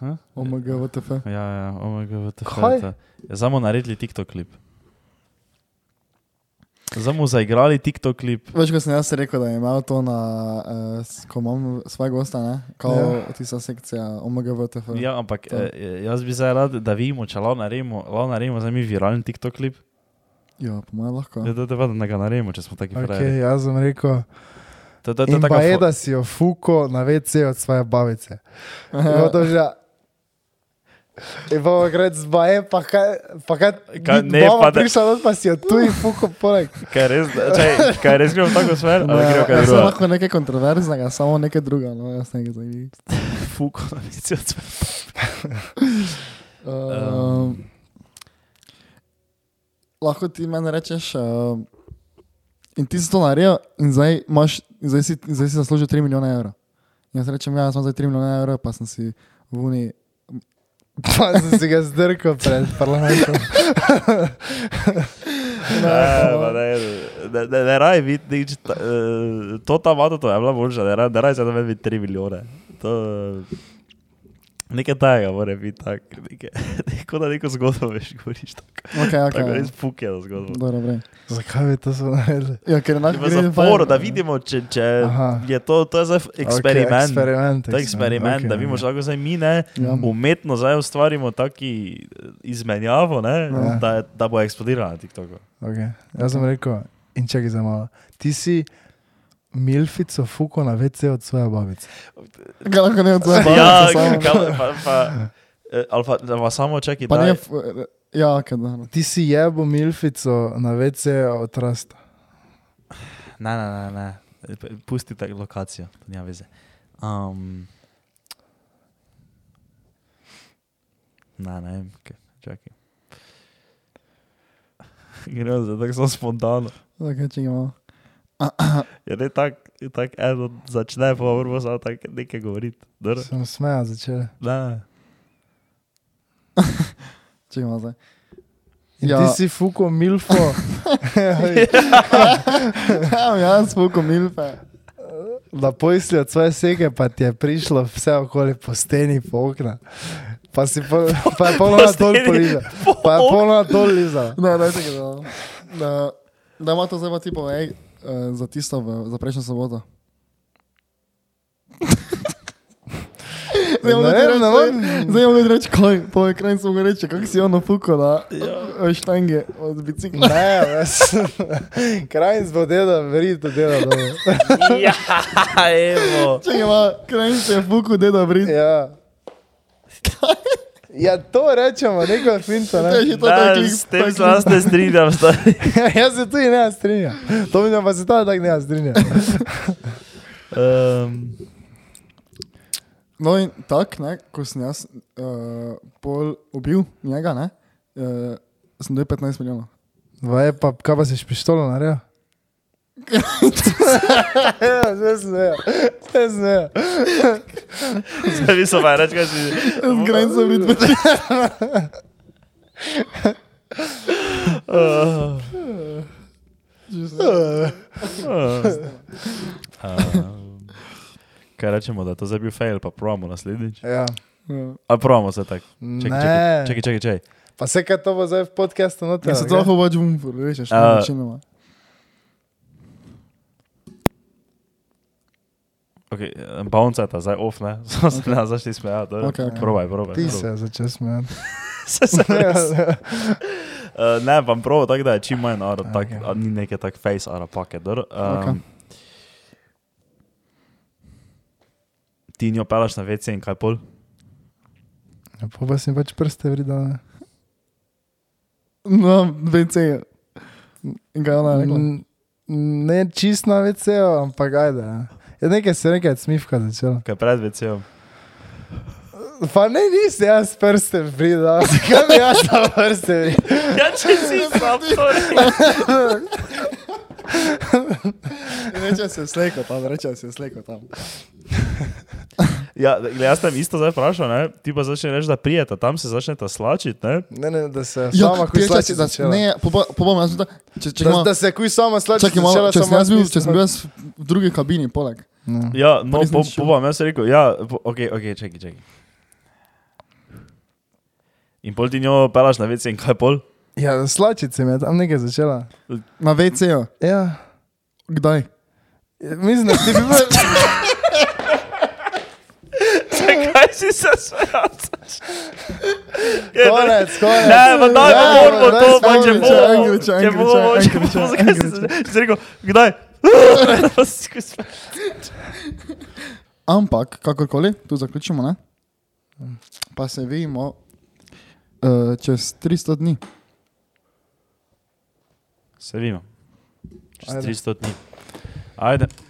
A: Ha?
C: OMG, VTF.
A: Ja, ja, OMGVT.
B: Hm? Kaj?
A: Ja, samo naredili TikTok klip. Samo zaigrali TikTok klip.
C: Veš, ko sem jaz rekel, da je imel to na, eh, s- ko imam svojega gosta, ne? Kao
B: Ja.
C: ja. tista sekcija OMG, VTF.
B: Hm.
A: Ja, ampak
C: To.
A: eh, jaz bi zdaj rad, da vidimo, če lahko naredimo, lahko naredimo zdaj mi viralen TikTok klip.
C: ja po mojem lahko.
A: Ja, da te vedno ga naredimo, če smo taki frajeri.
B: Okay, jaz sem rekel,
A: To- to- to
B: in
A: taka
B: pa je,
A: fo-
B: da si jo fuko na WC od svoje babice. Ja, to že. In pa gre z baje, pa kaj, pa kaj,
A: Kaj, ne,
B: mama
A: pa da-
B: prišla not, pa si jo tu in fuko poleg.
A: Kaj res, čaj, kaj res gremo v tako smer? Ali gremo kaj
C: ja, sem
A: drugega?
C: lahko nekaj kontroverznega, samo nekaj drugega. No, jaz nekaj zanimiv.
A: Fuko, na lice od smer.
C: Uh, lahko ti meni rečeš, uh, in ti si to naredil, in zdaj, imaš, in zdaj, si, in zdaj si zaslužil 3 milijone evrov. In jaz rečem, ja, jaz imam zdaj 3 milijone evrov, pa sem si v Uni.
B: Pa sem si ga zdrkal pred parlamentom.
A: Ne, pa ne, ne, ne, ne raj biti nič. ta- eh, To ta vada, to je bila boljša, ne raj, ne raj zdaj biti 3 milijone. To, nekaj tajega mora biti tak, nekaj, neko da neko zgodbo veš, govoriš tako.
C: Okay,
A: Tako
C: okay.
A: res pukjeno zgodbo.
C: ja. Dobro, bre.
B: Zakaj bi to so naredili?
C: ja, ker
A: V zaporu, da vidimo, če, če
B: Aha.
A: je to, to je zdaj
B: Okay,
A: eksperiment.
B: eksperiment.
A: To je eksperiment,
B: ok,
A: da vidimo,
B: ok.
A: če lahko zdaj mi ne,
C: Ja.
A: umetno zdaj ustvarimo taki eh, izmenjavo, ne,
B: Ja.
A: da, da bo eksplodirala na TikToku.
B: Okay. Jaz sem rekel, in čakaj za malo. Ti si milfico fuko na WC od svoje babice.
C: Ga lahko ne odzovem.
A: Ja, kaj pa. pa eh, Ali pa, ali pa samo čakaj,
C: Pa ne,
A: da
C: f- ja, ok, dobro.
B: Ti si jebo milfico na WC od rasta.
A: Ne, ne, ne, ne. P- pusti tako lokacijo, to nima veze. Um, ne, ne vem, kaj, čakaj. Gremo za tako zelo spontano.
C: Okay, če ga imamo.
A: Je ne tako, tak eno začne, pa moramo samo tako nekaj govoriti. Dobro?
B: Sem smeja začela.
A: Ne.
C: Če ga imamo zdaj.
B: In
C: Ja.
B: ja. ti si fuko milfo.
C: Ja, jaz spoko milfe.
B: da pojsli od svoje sege, pa ti je prišlo vse okoli po steni, po okna. Pa, si po, pa je polno
A: Po
B: na dol
A: steni,
B: poliza. Pa je polno na dol liza.
C: Ne, ne, tega ne. Da, da ima to zdaj pa ti povej eh, za tisto, v, za prejšnjo soboto. Zdaj
B: Ne vem, ne
C: moram
B: morem.
C: zdaj moram reči, kaj, povej kraj sem mu reči, kako si on napuko na ja. štange od bicikla.
B: Ne, ves. Kraj z vodeda, verjete, dela dobro.
A: Ja, evo.
C: Če ima, kraj se je puko, deda vrit.
B: Ja. ja, to rečemo, neko je finta.
C: To je
B: Ne?
C: že to, da
A: Ne, s tem se jaz ne strinjam, stari.
B: Jaz se tudi ne strinjam. To vidim, pa se ta tak ne strinjam.
A: Um,
C: No in tako, ne, ko sem jaz uh, pol ubil njega, ne, uh, sem dobil 15 milijonov.
B: Vaje pa, kaj pa si s pištolo naredil? Ja, Zdaj se ne, zdaj se ne.
A: zdaj bi se pa reči, kaj si.
C: Z granico vrit.
A: Uh, uh, kaj rečemo, da je to zdaj bil fail, pa pravimo naslednjič.
B: Ja.
C: Ja.
A: A pravimo se tako. Čakaj,
B: Ne.
A: čakaj, čakaj, čakaj, čakaj.
B: Pa se kaj to bo zdaj v podkastu noter.
C: Ja, se to lahko pač bom rečeš, ne
A: A-
C: večinoma.
A: Okay, bounce je ta zdaj off, ne? Samo se ne zašli smejati. dobro.
C: Okej, okej.
A: Probaj, probaj.
B: Ti
A: probaj.
B: se Ja, začel smejati.
A: se se res. Uh, ne, vam prav, tako da je čim manj ara, tak,
B: Okej.
A: okay. ni neke tak face ara paket. Um,
C: Okej.
A: okay. Ti njo pelaš na WC in kaj pol?
B: Ja, pa pa si pač prste vridal.
C: No, VC. In kaj je ona rekla?
B: Ne čist na WC-ju, ampak ajde. ja. Ja, nekaj se je nekaj smivka začela.
A: Kaj pred WC-om?
B: Pa ne, nisi jaz prste vridal. Zakaj bi jaz ta prste vridal?
A: Ja, če si sam,
C: Reče se slejko tam, reče se slejko tam.
A: Ja, glej, jaz sem isto zdaj vprašal, ne? ti pa začneš reči, da prijeta, tam se začnete slačiti. Ne?
B: Ne, ne, da se Ja,
C: Ja,
B: sama kuj slači začela.
C: Ne, po po mojem, jaz sem tako, če, če,
B: Da,
C: ima,
B: da se kuj sama slači
C: čakaj, malo,
B: začela.
C: če, sem
B: samo
C: jaz bil,
B: nisem-
C: če sem bil jaz v drugi kabini, poleg.
B: No.
A: Ja, no,
C: Pa nisem
A: po,
C: šel.
A: po vam jaz sem rekel, ja, po, ok, ok, čakaj, čakaj. In pol ti njo pelaš na vece in kaj pol?
B: Ja, slačiti se mi je tam nekaj začela.
C: Na VC-ju.
B: Ja.
C: Kdaj?
B: Mislim, da ti bi bil...
A: Kaj si se smejal?
B: Konec, konec.
A: Ne, pa daj,
B: Ja,
A: pa moramo
B: daj,
A: to, pa
B: samo
A: če
B: mi
A: bo,
B: čas,
C: Anglič,
A: če bo,
C: Anglič,
A: če
C: Anglič,
A: bo, zakaj si se, si rekel, kdaj? Pa si se smejal.
C: Ampak, kakorkoli, tu zaključimo, ne?
B: Mm.
C: pa se vidimo uh, čez 300 dni.
A: Se vidimo. Čez
B: Ajde.
A: 300 dni. Ajde.